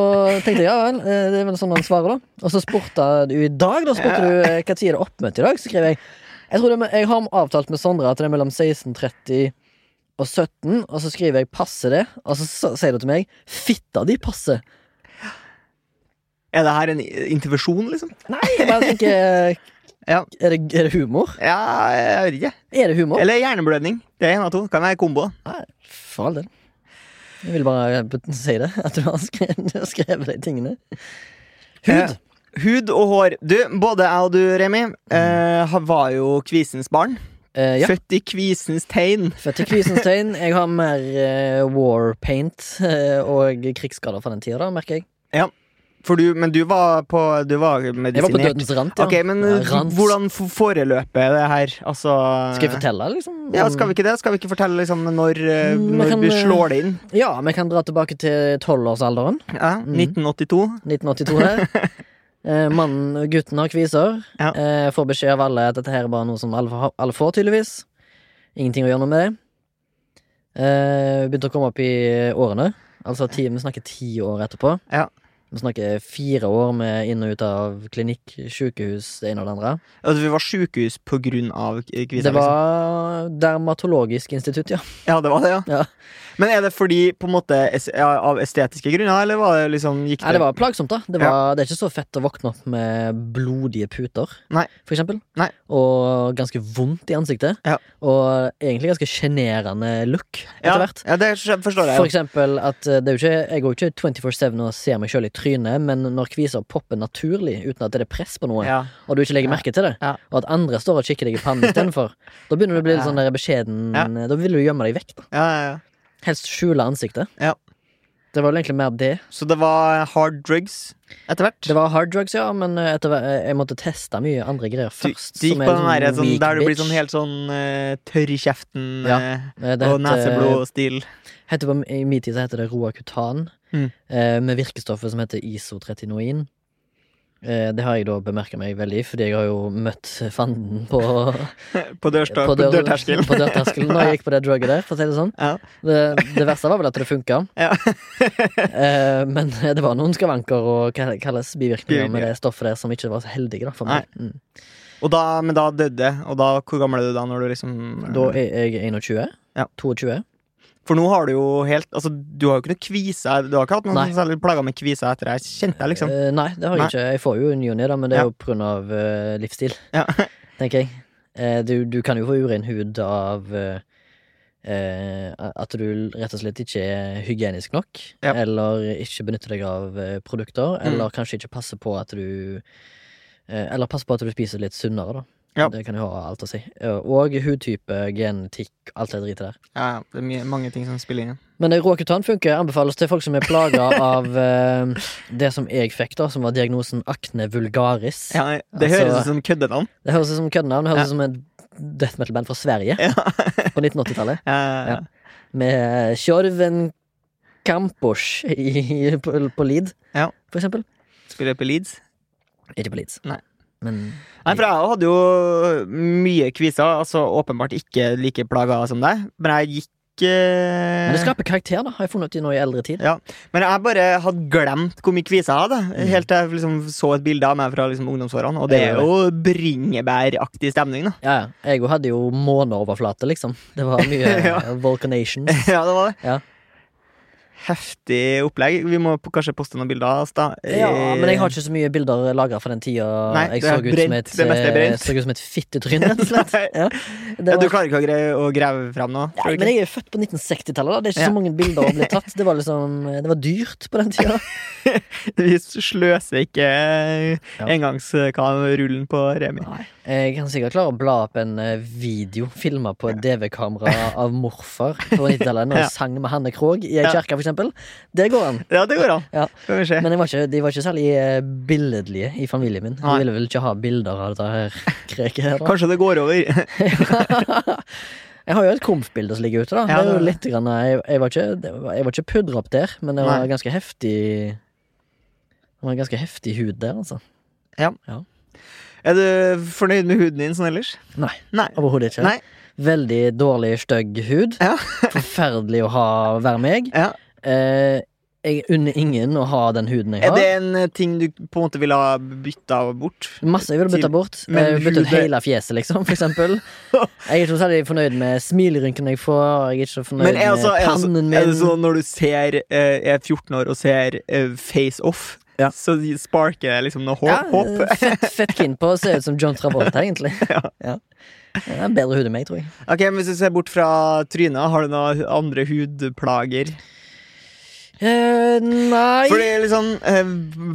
Speaker 1: tenkte jeg ja vel, eh, det er vel sånn man svarer, da. Og så spurte du i dag, da spurte du eh, hva tid er det oppmøte i dag. Så skrev jeg jeg, tror det, er me- jeg har avtalt med Sondre at det er mellom 16.30 og 17, og så skriver jeg 'passer det', og så s- sier du til meg 'fitta di passer'.
Speaker 2: Er det her en intervensjon, liksom?
Speaker 1: Nei, jeg bare tenker eh,
Speaker 2: Ja.
Speaker 1: er, det, er det humor?
Speaker 2: Ja, jeg vet ikke.
Speaker 1: Er det humor?
Speaker 2: Eller hjerneblødning. Det er en av to. Kan være kombo.
Speaker 1: Nei, for all del. Jeg vil bare b- si det, at du har skrevet, skrevet de tingene. Hud.
Speaker 2: Eh, Hud og hår. Du, både jeg og du, Remi, eh, ha- var jo kvisens barn.
Speaker 1: Eh, Mm. ja.
Speaker 2: Født i kvisens tegn.
Speaker 1: Født i kvisens tegn. Jeg har mer eh, war paint eh, og krigsskader fra den tida, da, merker jeg.
Speaker 2: For du, men du var på Du var
Speaker 1: Jeg var på
Speaker 2: medisinert.
Speaker 1: dødens rand. Ja.
Speaker 2: Ok, men
Speaker 1: Ja,
Speaker 2: eh,
Speaker 1: rans.
Speaker 2: hvordan f- foreløper det her? Altså
Speaker 1: Skal jeg fortelle, liksom?
Speaker 2: Ja,
Speaker 1: om-
Speaker 2: skal vi ikke det? Skal vi ikke fortelle liksom når, eh,
Speaker 1: Mm,
Speaker 2: når
Speaker 1: jeg kan,
Speaker 2: du
Speaker 1: eh,
Speaker 2: slår det inn?
Speaker 1: Ja, vi kan dra tilbake til tolvårsalderen.
Speaker 2: Ja,
Speaker 1: Mm.
Speaker 2: 1982.
Speaker 1: 1982 her. Eh, mannen, gutten har kviser.
Speaker 2: Ja.
Speaker 1: Eh, får beskjed av alle at dette her er bare noe som alle, har- alle får, tydeligvis. Ingenting å gjøre noe med det. Eh, begynte å komme opp i årene. Altså ti, Vi snakker ti år etterpå.
Speaker 2: Ja.
Speaker 1: Vi snakker fire år med inn og ut av klinikk, sykehus, det ene og det andre.
Speaker 2: Altså, vi var sjukehus på grunn av k- kvisa.
Speaker 1: Det var dermatologisk institutt, ja.
Speaker 2: liksom. Ja, det var det, ja.
Speaker 1: Ja.
Speaker 2: Men er det fordi på en måte es ja, av estetiske grunner, eller var det liksom gikk
Speaker 1: Nei, det var plagsomt, da. Det, var,
Speaker 2: Ja.
Speaker 1: det er ikke så fett å våkne opp med blodige puter,
Speaker 2: Nei.
Speaker 1: for eksempel.
Speaker 2: Nei.
Speaker 1: Og ganske vondt i ansiktet.
Speaker 2: Ja.
Speaker 1: Og egentlig ganske sjenerende look etter
Speaker 2: ja,
Speaker 1: hvert.
Speaker 2: Ja, det skj- forstår jeg.
Speaker 1: For
Speaker 2: jo.
Speaker 1: eksempel at eh, det er jo ikke, jeg går jo ikke 24-7 og ser meg sjøl i trynet, men når kviser popper naturlig uten at det er press på noe,
Speaker 2: Ja.
Speaker 1: og du ikke legger
Speaker 2: Ja.
Speaker 1: merke til det,
Speaker 2: Ja.
Speaker 1: og at andre står og kikker deg i pannen istedenfor, da begynner du å bli litt
Speaker 2: Ja.
Speaker 1: sånn der beskjeden eh, Da vil du gjemme deg vekk. da
Speaker 2: Ja, ja, ja.
Speaker 1: Helst skjule ansiktet.
Speaker 2: Ja.
Speaker 1: Det var vel egentlig mer det.
Speaker 2: Så det var hard drugs etter hvert?
Speaker 1: Det var hard drugs, ja, men eh, etter, hver- eh, jeg måtte teste mye andre greier
Speaker 2: Du,
Speaker 1: først.
Speaker 2: du gikk
Speaker 1: som
Speaker 2: på
Speaker 1: er
Speaker 2: den der, sånn,
Speaker 1: weak
Speaker 2: der du blir
Speaker 1: bitch.
Speaker 2: sånn helt sånn eh, tørr i kjeften
Speaker 1: Ja,
Speaker 2: eh,
Speaker 1: Eh, Det
Speaker 2: og
Speaker 1: heter,
Speaker 2: neseblod-stil.
Speaker 1: heter på, I min tid så heter det Roacutan,
Speaker 2: Mm.
Speaker 1: eh, med virkestoffet som heter isotretinoin. Eh, det har jeg da bemerka meg veldig, fordi jeg har jo møtt fanden på,
Speaker 2: På, dørsta-
Speaker 1: på
Speaker 2: på
Speaker 1: dør-
Speaker 2: dørterskelen.
Speaker 1: på dørterskelen når jeg gikk på det drugget der, for å si det sånn.
Speaker 2: Ja.
Speaker 1: Det, det verste var vel at det funka.
Speaker 2: Ja.
Speaker 1: eh, men det var noen skavanker og hva det kalles bivirkninger med
Speaker 2: Bivirkninger.
Speaker 1: det stoffet der som ikke var så heldige da, for meg. Mm.
Speaker 2: Og da, men da døde Og da, hvor gammel er du da? Når du liksom
Speaker 1: Da er jeg 21.
Speaker 2: Ja.
Speaker 1: 22.
Speaker 2: For nå har du jo helt Altså, du har jo ikke noe kvise Du har ikke hatt noen
Speaker 1: Nei.
Speaker 2: sånn særlig plager med kvise etter det? Jeg kjente jeg, liksom.
Speaker 1: Eh, nei, det har jeg
Speaker 2: Nei.
Speaker 1: ikke. Jeg får jo en ny og ne, da, men det er
Speaker 2: Ja.
Speaker 1: jo pga. Uh, livsstil,
Speaker 2: Ja.
Speaker 1: tenker jeg. Eh, du, du kan jo få uren hud av eh, eh, at du rett og slett ikke er hygienisk nok,
Speaker 2: Ja.
Speaker 1: eller ikke benytter deg av eh, produkter,
Speaker 2: Mm.
Speaker 1: eller kanskje ikke passer på at du eh, Eller passer på at du spiser litt sunnere, da.
Speaker 2: Ja.
Speaker 1: Det kan jo ha alt å si. Eh, Og hudtype, genetikk, alt det dritet der.
Speaker 2: Ja, ja, det er mye, mange ting som spiller inn.
Speaker 1: Men Råkutan funker anbefales til folk som er plaga av eh, det som jeg fikk, da, som var diagnosen akne vulgaris.
Speaker 2: Ja, det
Speaker 1: Altså-
Speaker 2: høres ut som køddenavn.
Speaker 1: Det høres ut som køddenavn. Det høres ut som et death metal-band fra Sverige
Speaker 2: Ja.
Speaker 1: på 1980-tallet.
Speaker 2: Ja,
Speaker 1: Ja. Med Tjorven Kampos i, på, på Leed,
Speaker 2: Ja.
Speaker 1: for eksempel.
Speaker 2: Spiller på Leeds.
Speaker 1: Ikke på Leeds.
Speaker 2: Nei.
Speaker 1: Men
Speaker 2: Nei, for jeg hadde jo mye kviser. Altså åpenbart ikke like plaga som deg, men jeg gikk eh,
Speaker 1: Men det skaper karakter, da, har jeg funnet ut i nå i eldre tid.
Speaker 2: Men jeg bare hadde glemt hvor mye kvise jeg hadde. Helt til jeg liksom så et bilde av meg fra liksom ungdomsårene. Og det
Speaker 1: Mm. Ja,
Speaker 2: er
Speaker 1: det
Speaker 2: jo bringebæraktig stemning, da.
Speaker 1: Ja, ja. Jeg hadde jo måneoverflate, liksom. Det var mye
Speaker 2: Ja.
Speaker 1: volcanations.
Speaker 2: ja, det var det.
Speaker 1: Ja.
Speaker 2: Heftig opplegg. Vi må p- kanskje poste noen bilder av oss, da.
Speaker 1: Ja, men jeg har ikke så mye bilder lagra fra den tida.
Speaker 2: Eh, Nei,
Speaker 1: jeg
Speaker 2: det er
Speaker 1: så ut, som
Speaker 2: brent.
Speaker 1: et,
Speaker 2: Det meste er brent.
Speaker 1: eh, så ut som et fittetryn, rett og slett.
Speaker 2: Nei.
Speaker 1: Ja,
Speaker 2: Ja,
Speaker 1: det
Speaker 2: Du
Speaker 1: var,
Speaker 2: klarer ikke å, gre- å grave fram noe?
Speaker 1: nei, men jeg er født på 1960-tallet. da. Det er ikke
Speaker 2: Ja.
Speaker 1: så mange bilder å bli tatt. Det var liksom, det var dyrt på den tida.
Speaker 2: Vi sløser ikke
Speaker 1: Ja.
Speaker 2: engangsrullen på Remi.
Speaker 1: Jeg kan sikkert klare å bla opp en eh, video filma på et DV-kamera av morfar på 90-tallet, når
Speaker 2: Ja.
Speaker 1: jeg sang med Hanne Krogh i ei
Speaker 2: Ja.
Speaker 1: kirke, for eksempel. Det går an.
Speaker 2: Ja, det går an.
Speaker 1: Ja.
Speaker 2: Skal vi se.
Speaker 1: Men jeg var ikke, de var ikke særlig eh, billedlige i familien min. De
Speaker 2: Nei.
Speaker 1: ville vel ikke ha bilder av dette her kreket her. da.
Speaker 2: Kanskje det går over.
Speaker 1: jeg har jo et komfbilde som ligger ute, da.
Speaker 2: Ja,
Speaker 1: det er jo
Speaker 2: det-
Speaker 1: litt grann, jeg, jeg var ikke, det var- jeg var ikke pudra opp der, men det var
Speaker 2: Nei.
Speaker 1: ganske heftig. Han har ganske heftig hud der, altså.
Speaker 2: Er du fornøyd med huden din sånn ellers?
Speaker 1: Nei.
Speaker 2: Nei.
Speaker 1: Overhodet ikke.
Speaker 2: Nei.
Speaker 1: Veldig dårlig, stygg hud.
Speaker 2: Ja.
Speaker 1: Forferdelig å ha være meg.
Speaker 2: Ja.
Speaker 1: Eh, jeg unner ingen å ha den huden jeg
Speaker 2: Er
Speaker 1: har.
Speaker 2: det en eh, ting du på en måte ville ha bytta bort?
Speaker 1: Masse jeg ville bytta
Speaker 2: Til-
Speaker 1: bort.
Speaker 2: men
Speaker 1: Eh, Bytta ut
Speaker 2: hudet-
Speaker 1: hele fjeset, liksom, for eksempel. Jeg er ikke så særlig fornøyd med smilrynkene jeg får. Jeg er ikke så fornøyd
Speaker 2: Men er, altså,
Speaker 1: med
Speaker 2: er, altså,
Speaker 1: pannen
Speaker 2: er det
Speaker 1: min.
Speaker 2: sånn når du ser eh, Jeg er 14 år og ser eh, Face Off,
Speaker 1: Ja.
Speaker 2: så sparker det liksom noe
Speaker 1: Ja,
Speaker 2: hå- håp?
Speaker 1: eh, fett, fett keen på å se ut som John Travolta, egentlig.
Speaker 2: Ja.
Speaker 1: Ja. Det er bedre hud enn meg, tror jeg.
Speaker 2: Ok, men Hvis du ser bort fra trynet, har du noen andre hudplager?
Speaker 1: Eh, nei
Speaker 2: Fordi liksom eh,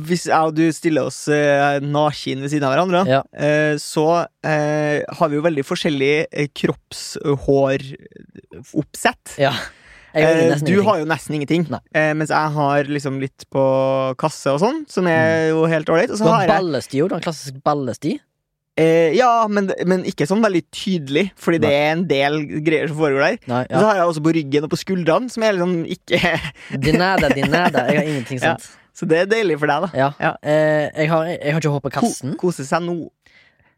Speaker 2: Hvis jeg og du stiller oss eh, naken ved siden av hverandre,
Speaker 1: Ja.
Speaker 2: eh, så eh, har vi jo veldig forskjellig eh, kroppshåroppsett.
Speaker 1: ja. Jeg gjør
Speaker 2: Eh,
Speaker 1: nesten
Speaker 2: du
Speaker 1: ingenting.
Speaker 2: har jo nesten ingenting,
Speaker 1: Nei.
Speaker 2: eh, mens jeg har liksom litt på kasse og sånn, som er jo helt ålreit. Og
Speaker 1: Mm. Du
Speaker 2: så
Speaker 1: har
Speaker 2: har jeg
Speaker 1: ballesti, jo. Du har en klassisk ballesti.
Speaker 2: eh, Ja, men, men ikke sånn veldig tydelig, fordi det er en del greier som foregår der.
Speaker 1: Nei,
Speaker 2: Og
Speaker 1: ja.
Speaker 2: så har jeg også på ryggen og på skuldrene, som er liksom ikke
Speaker 1: Dinada, dinada. Jeg har ingenting
Speaker 2: Ja.
Speaker 1: sant.
Speaker 2: Så det er deilig for deg, da.
Speaker 1: Eh, jeg, har, jeg har ikke hår på
Speaker 2: Ko
Speaker 1: kassen.
Speaker 2: kose seg nå.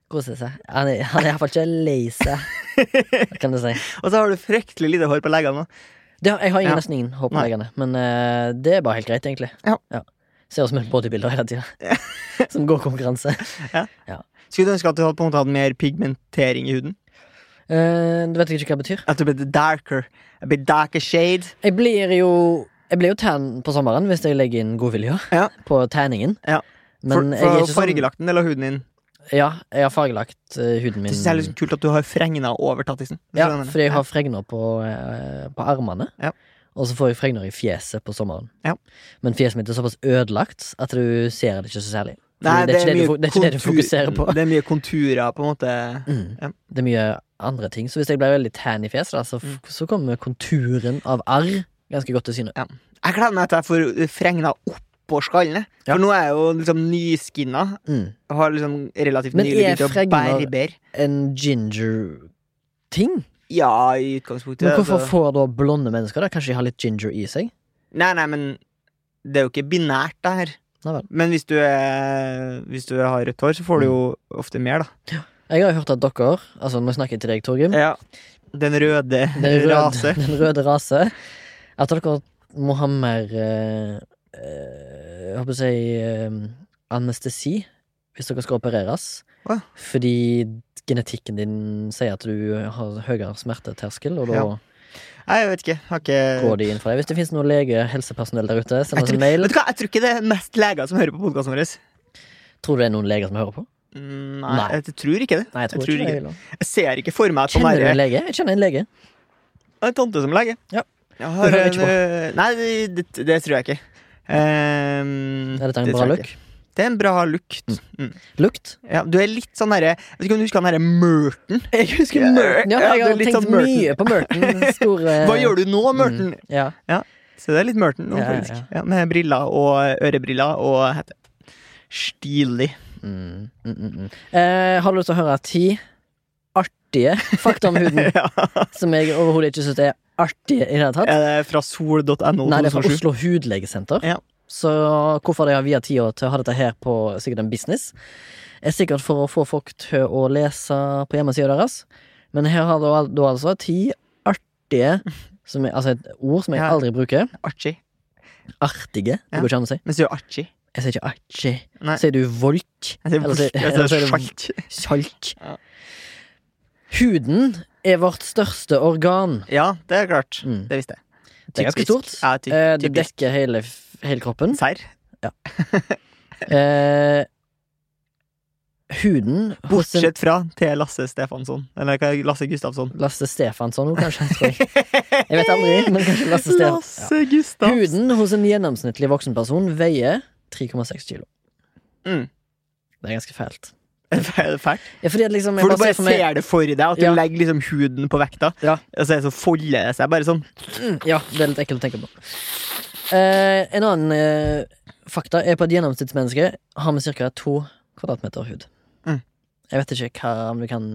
Speaker 1: Kose seg. Han er, han er iallfall ikke lei seg, kan du si.
Speaker 2: Og så har du fryktelig lite hår på leggene. da.
Speaker 1: Det har, jeg har ingen,
Speaker 2: Ja.
Speaker 1: nesten ingen hår på
Speaker 2: Nei.
Speaker 1: leggene, men eh, det er bare helt greit, egentlig.
Speaker 2: Ja.
Speaker 1: Ser ut som et bodybuilder hele tida. som går konkurranse.
Speaker 2: Skulle du ønske at du hadde på en måte hatt mer pigmentering i huden?
Speaker 1: Eh, du vet ikke hva det betyr.
Speaker 2: At du ble darker? A bit darker shade?
Speaker 1: Jeg blir jo Jeg blir jo tan på sommeren hvis jeg legger inn godvilje
Speaker 2: Ja.
Speaker 1: på tanningen.
Speaker 2: Ja.
Speaker 1: Men jeg
Speaker 2: for,
Speaker 1: er
Speaker 2: for
Speaker 1: ikke sånn
Speaker 2: fargelagt en del av huden din.
Speaker 1: Ja, jeg har fargelagt eh, huden min.
Speaker 2: Det synes jeg er litt kult at du har fregna over tattisen. Hvis
Speaker 1: Ja,
Speaker 2: du skjønner det.
Speaker 1: fordi jeg har fregner på, eh, på armene.
Speaker 2: Ja.
Speaker 1: Og så får jeg fregner i fjeset på sommeren.
Speaker 2: Ja.
Speaker 1: Men fjeset mitt er såpass ødelagt at du ser det ikke så særlig. Fordi
Speaker 2: Nei,
Speaker 1: det, er ikke det,
Speaker 2: mye
Speaker 1: du, fo- det er ikke det du
Speaker 2: kontur-
Speaker 1: fokuserer på.
Speaker 2: Det er mye konturer, på en måte.
Speaker 1: Mm.
Speaker 2: Ja.
Speaker 1: Det er mye andre ting. Så hvis jeg blir veldig tan i fjeset, da, så, f-
Speaker 2: Mm.
Speaker 1: så kommer konturen av arr ganske godt til syne.
Speaker 2: Jeg gleder meg til jeg får fregna oppå skallen. jeg. For nå er jeg jo liksom nyskinna.
Speaker 1: Mm.
Speaker 2: og Har liksom relativt
Speaker 1: Men
Speaker 2: nylig
Speaker 1: er
Speaker 2: begynt å
Speaker 1: fregner-
Speaker 2: bære bær.
Speaker 1: En ginger-ting.
Speaker 2: Ja, i utgangspunktet.
Speaker 1: Men hvorfor
Speaker 2: altså.
Speaker 1: får da blonde mennesker det? Kanskje de har litt ginger i seg?
Speaker 2: Nei, nei, men det er jo ikke binært, det her.
Speaker 1: Nei vel.
Speaker 2: Men hvis du, er, hvis du har rødt hår, så får du jo
Speaker 1: Mm.
Speaker 2: ofte mer, da.
Speaker 1: Jeg har jo hørt at dere, altså nå snakker jeg til deg, Torgrim,
Speaker 2: Ja. Den røde
Speaker 1: den røde,
Speaker 2: rase.
Speaker 1: Den røde rase. At dere må ha mer eh, eh, Jeg håper å si eh, anestesi hvis dere skal opereres.
Speaker 2: Åja.
Speaker 1: Fordi genetikken din sier at du har høyere smerteterskel, og da
Speaker 2: Ja. Nei, jeg vet ikke. Har ikke
Speaker 1: går de inn for deg. Hvis det finnes noen lege, helsepersonell der ute, send
Speaker 2: Jeg
Speaker 1: oss en
Speaker 2: tror-
Speaker 1: mail.
Speaker 2: Vet du hva, jeg tror ikke det er mest leger som hører på podkasten vår.
Speaker 1: Tror du det er noen leger som hører på?
Speaker 2: Mm, Nei,
Speaker 1: Nei.
Speaker 2: jeg tror ikke det.
Speaker 1: Nei, jeg tror,
Speaker 2: tror
Speaker 1: ikke
Speaker 2: ikke.
Speaker 1: det. Wilhelm.
Speaker 2: Jeg ser ikke for meg at han
Speaker 1: Kjenner du
Speaker 2: er
Speaker 1: en lege? Jeg kjenner en lege.
Speaker 2: en tante som lege.
Speaker 1: Ja.
Speaker 2: Jeg har
Speaker 1: Det hører
Speaker 2: en,
Speaker 1: ikke på.
Speaker 2: øh, nei, det, det, det tror jeg ikke. Ehm,
Speaker 1: Er dette en
Speaker 2: det
Speaker 1: bra
Speaker 2: tror jeg
Speaker 1: look?
Speaker 2: ikke. Det er en bra lukt. Mm.
Speaker 1: Lukt?
Speaker 2: Ja, du er litt sånn derre Jeg vet ikke om du husker han derre Merton?
Speaker 1: Jeg husker
Speaker 2: Ja,
Speaker 1: Merton. Ja,
Speaker 2: ja,
Speaker 1: jeg
Speaker 2: det er
Speaker 1: har
Speaker 2: litt
Speaker 1: tenkt
Speaker 2: sånn Merton.
Speaker 1: mye på Merton. den Store
Speaker 2: Hva gjør du nå, Merton?
Speaker 1: Ja.
Speaker 2: Så det er litt Merton nå,
Speaker 1: Ja, ja.
Speaker 2: faktisk. Ja, med briller og ørebriller og hette. Stilig.
Speaker 1: Mm, mm, mm, mm. Eh, har du lyst til å høre ti artige fakta om huden
Speaker 2: ja.
Speaker 1: som jeg overhodet ikke syns er artige i det hele tatt?
Speaker 2: Er det fra sol.no?
Speaker 1: Nei, det er fra
Speaker 2: 2007?
Speaker 1: Oslo Hudlegesenter.
Speaker 2: Ja.
Speaker 1: Så hvorfor de har via tida til å ha dette her på sikkert en business, er sikkert for å få folk til å lese på hjemmesida deres. Men her har du al- da altså ti artige som er, Altså et ord som jeg
Speaker 2: Ja.
Speaker 1: aldri bruker.
Speaker 2: Archie.
Speaker 1: Artige. Det
Speaker 2: Ja.
Speaker 1: går ikke an å si.
Speaker 2: Men sier du Archie?
Speaker 1: Jeg sier ikke artig.
Speaker 2: Nei.
Speaker 1: Sier du volk?
Speaker 2: Jeg sier
Speaker 1: Eller
Speaker 2: Volk.
Speaker 1: sier-
Speaker 2: Jeg
Speaker 1: eller sier
Speaker 2: sier
Speaker 1: du-
Speaker 2: Schalt.
Speaker 1: Sjalk.
Speaker 2: Ja.
Speaker 1: Huden er vårt største organ.
Speaker 2: Ja, det er klart.
Speaker 1: Mm.
Speaker 2: Det visste jeg. Det er
Speaker 1: Typisk
Speaker 2: typisk.
Speaker 1: stort.
Speaker 2: Ja, ty
Speaker 1: Eh, Det
Speaker 2: typisk.
Speaker 1: dekker hele, f- hele kroppen.
Speaker 2: Serr.
Speaker 1: Eh, huden hos en
Speaker 2: Bortsett fra til Lasse Stefansson. Eller hva er Lasse Gustafsson.
Speaker 1: Lasse Stefansson òg, kanskje. Tror jeg. jeg vet aldri, men kanskje Lasse Stefansson.
Speaker 2: Lasse
Speaker 1: Ja.
Speaker 2: Gustafsson.
Speaker 1: Huden hos en gjennomsnittlig voksen person veier 3,6 kilo.
Speaker 2: Mm.
Speaker 1: Det er ganske fælt.
Speaker 2: Er det fælt?
Speaker 1: Ja, fordi at liksom, jeg
Speaker 2: For du bare
Speaker 1: ser for meg-
Speaker 2: ser det for deg, at du
Speaker 1: Ja.
Speaker 2: legger liksom huden på vekta.
Speaker 1: Ja.
Speaker 2: Og så, er det så folder det seg bare sånn.
Speaker 1: Ja, det er litt ekkelt å tenke på. Eh, en annen eh, fakta er på et gjennomsnittsmenneske har vi ca. to kvadratmeter hud.
Speaker 2: Mm.
Speaker 1: Jeg vet ikke hva om du kan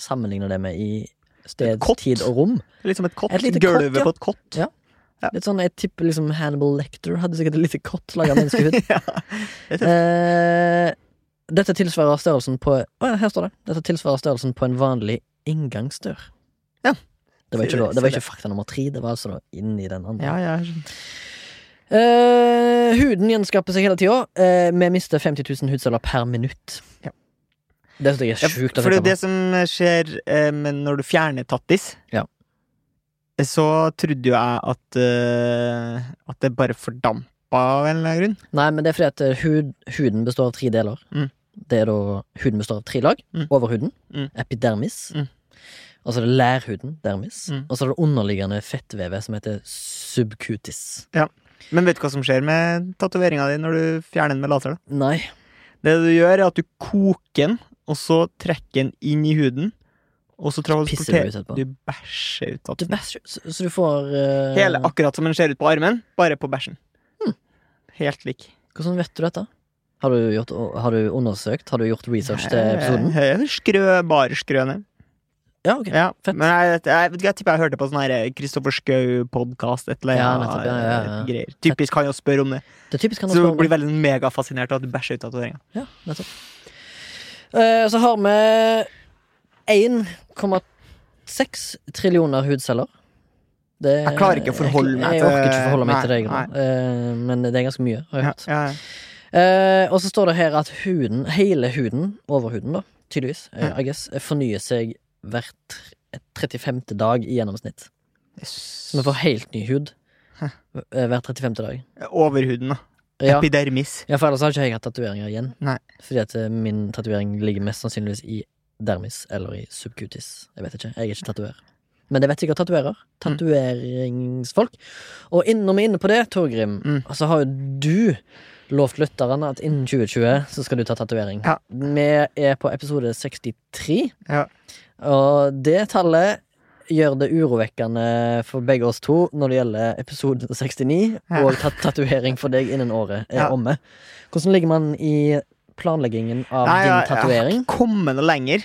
Speaker 1: sammenligne det med i sted,
Speaker 2: Et kott.
Speaker 1: tid og rom.
Speaker 2: Liksom et kott.
Speaker 1: Et lite kott,
Speaker 2: Gulvet
Speaker 1: ja.
Speaker 2: på et kott.
Speaker 1: Ja.
Speaker 2: Ja.
Speaker 1: Litt sånn, Jeg tipper liksom Hannibal Lector hadde sikkert et lite kott laga av menneskehud.
Speaker 2: ja.
Speaker 1: Eh, dette tilsvarer størrelsen på Å ja, her står det. Dette tilsvarer størrelsen på en vanlig inngangsdør.
Speaker 2: Ja.
Speaker 1: Det var
Speaker 2: Se
Speaker 1: ikke,
Speaker 2: det,
Speaker 1: da, det var
Speaker 2: se
Speaker 1: ikke fakta nummer tre, det var altså da inni den andre.
Speaker 2: ja, ja. jeg skjønner.
Speaker 1: Eh, huden gjenskaper seg hele tida. Eh, vi mister 50 000 hudceller per minutt.
Speaker 2: Ja.
Speaker 1: Det synes jeg
Speaker 2: Ja,
Speaker 1: er sjukt. å
Speaker 2: For det er
Speaker 1: tenke
Speaker 2: jo det som skjer eh, men når du fjerner tattis.
Speaker 1: Ja.
Speaker 2: Så trodde jo jeg at, eh, at det bare fordampa av en eller annen grunn.
Speaker 1: på. Nei, men det er fordi at eh, hud, huden består av tre deler.
Speaker 2: Mm.
Speaker 1: Det er da Huden består av tre lag.
Speaker 2: Mm.
Speaker 1: Overhuden.
Speaker 2: Mm.
Speaker 1: Epidermis.
Speaker 2: Mm.
Speaker 1: Og så er det lærhuden, dermis.
Speaker 2: Mm.
Speaker 1: Og så er det underliggende fettvevet, som heter subcutis.
Speaker 2: Men vet du hva som skjer med tatoveringa di når du fjerner den med laser? da?
Speaker 1: Nei.
Speaker 2: Det du gjør, er at du koker den, og så trekker den inn i huden. Og
Speaker 1: Pisser
Speaker 2: så
Speaker 1: du
Speaker 2: transporterer
Speaker 1: ut etterpå?
Speaker 2: Du bæsjer ut
Speaker 1: Du
Speaker 2: tatoveringa.
Speaker 1: bæsjer Så, så du får eh,
Speaker 2: Hele akkurat som den ser ut på armen, bare på bæsjen.
Speaker 1: Hmm.
Speaker 2: Helt lik.
Speaker 1: Hvordan vet du dette? Har du, gjort, har du undersøkt? Har du gjort research til episoden?
Speaker 2: Eh, eh, Skrø, bare skrøne.
Speaker 1: Ja, ok.
Speaker 2: Ja,
Speaker 1: Fett.
Speaker 2: men jeg, vet- jeg, vet ikke, jeg tipper jeg hørte på sånn her Kristoffer Schou-podkast, et eller
Speaker 1: Ja,
Speaker 2: annet
Speaker 1: nettopp, ja, ja, ja.
Speaker 2: eh, greier. Typisk han å spørre om det.
Speaker 1: Det er typisk han å
Speaker 2: Så
Speaker 1: spørre
Speaker 2: du
Speaker 1: om det.
Speaker 2: blir veldig megafascinert av at du bæsjer ut tatoveringa.
Speaker 1: Ja, nettopp. Eh, så har vi 1,6 trillioner hudceller. Det-
Speaker 2: Jeg klarer ikke å forholde meg
Speaker 1: jeg,
Speaker 2: til-
Speaker 1: jeg orker ikke forholde meg til det,
Speaker 2: Nei,
Speaker 1: jeg, nå. Eh, men det er ganske mye, har jeg
Speaker 2: Ja,
Speaker 1: hørt.
Speaker 2: ja, ja.
Speaker 1: Eh, og så står det her at huden, hele huden, overhuden da, tydeligvis, eh, I guess, eh, fornyer seg hvert tr- 35. dag i gjennomsnitt. Så vi får helt ny hud
Speaker 2: Hæ.
Speaker 1: eh, hver 35. dag.
Speaker 2: Overhuden, da.
Speaker 1: Ja.
Speaker 2: Epidermis.
Speaker 1: ja, for ellers har ikke jeg hatt tatoveringer igjen.
Speaker 2: Nei.
Speaker 1: Fordi at eh, min tatovering ligger mest sannsynligvis i dermis eller i subcutis. Jeg vet ikke. Jeg er ikke tatoverer. Men det vet sikkert tatoverer.
Speaker 2: Mm.
Speaker 1: Tatoveringsfolk. Og inn, når vi er inne på det, Torgrim,
Speaker 2: Mm.
Speaker 1: så har jo du lovt lytterne at innen 2020 så skal du ta tatovering.
Speaker 2: Ja.
Speaker 1: Vi er på episode 63,
Speaker 2: Ja.
Speaker 1: og det tallet gjør det urovekkende for begge oss to når det gjelder episode 69
Speaker 2: Ja.
Speaker 1: og tat tatovering for deg innen året er
Speaker 2: Ja.
Speaker 1: omme. Hvordan ligger man i planleggingen av
Speaker 2: Nei,
Speaker 1: din
Speaker 2: jeg- Jeg har
Speaker 1: tatovering?
Speaker 2: ikke kommet noe lenger.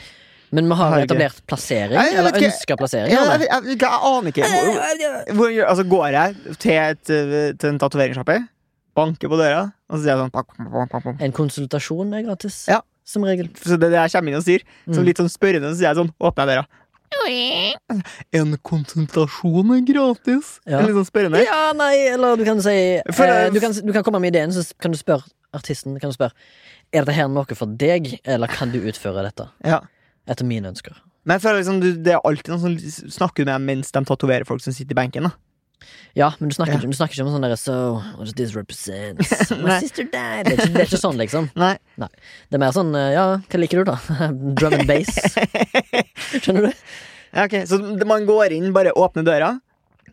Speaker 1: Men vi har
Speaker 2: Herregud.
Speaker 1: etablert plassering,
Speaker 2: Nei, jeg
Speaker 1: eller
Speaker 2: vet ikke.
Speaker 1: ønska plassering.
Speaker 2: Jeg,
Speaker 1: eller?
Speaker 2: jeg, jeg, jeg, aner ikke.
Speaker 1: Eh.
Speaker 2: Hvor, hvor, altså, går jeg til, et, eh, til en tatoveringssjappe, banker på døra, og så sier jeg sånn pak, pak, pak, pak.
Speaker 1: En konsultasjon er gratis.
Speaker 2: Ja.
Speaker 1: Som regel.
Speaker 2: Så det er det jeg kommer inn og sier. Så
Speaker 1: Mm.
Speaker 2: litt sånn spørrende, så sier jeg sånn, åpner jeg døra. En konsultasjon er gratis.
Speaker 1: Ja.
Speaker 2: Litt sånn spørrende.
Speaker 1: Ja, nei, eller du kan si
Speaker 2: For
Speaker 1: eh,
Speaker 2: det-
Speaker 1: du, kan, du kan komme med ideen, så kan du spørre artisten kan du spørre, Er dette her noe for deg, eller kan du utføre dette
Speaker 2: Ja.
Speaker 1: etter mine ønsker.
Speaker 2: Men jeg føler liksom, du, det er alltid noen som snakker med dem mens de tatoverer folk som sitter i benken. Da.
Speaker 1: Ja, men du snakker,
Speaker 2: Ja.
Speaker 1: Ikke, du snakker ikke om sånn derre So, what does this represent? My
Speaker 2: Nei.
Speaker 1: sister died. Det er, ikke, det er ikke sånn, liksom.
Speaker 2: Nei.
Speaker 1: Det er mer sånn eh, Ja, hva liker du, da? Drum and bass. Skjønner du?
Speaker 2: Ja, ok. Så det- man går inn, bare åpner døra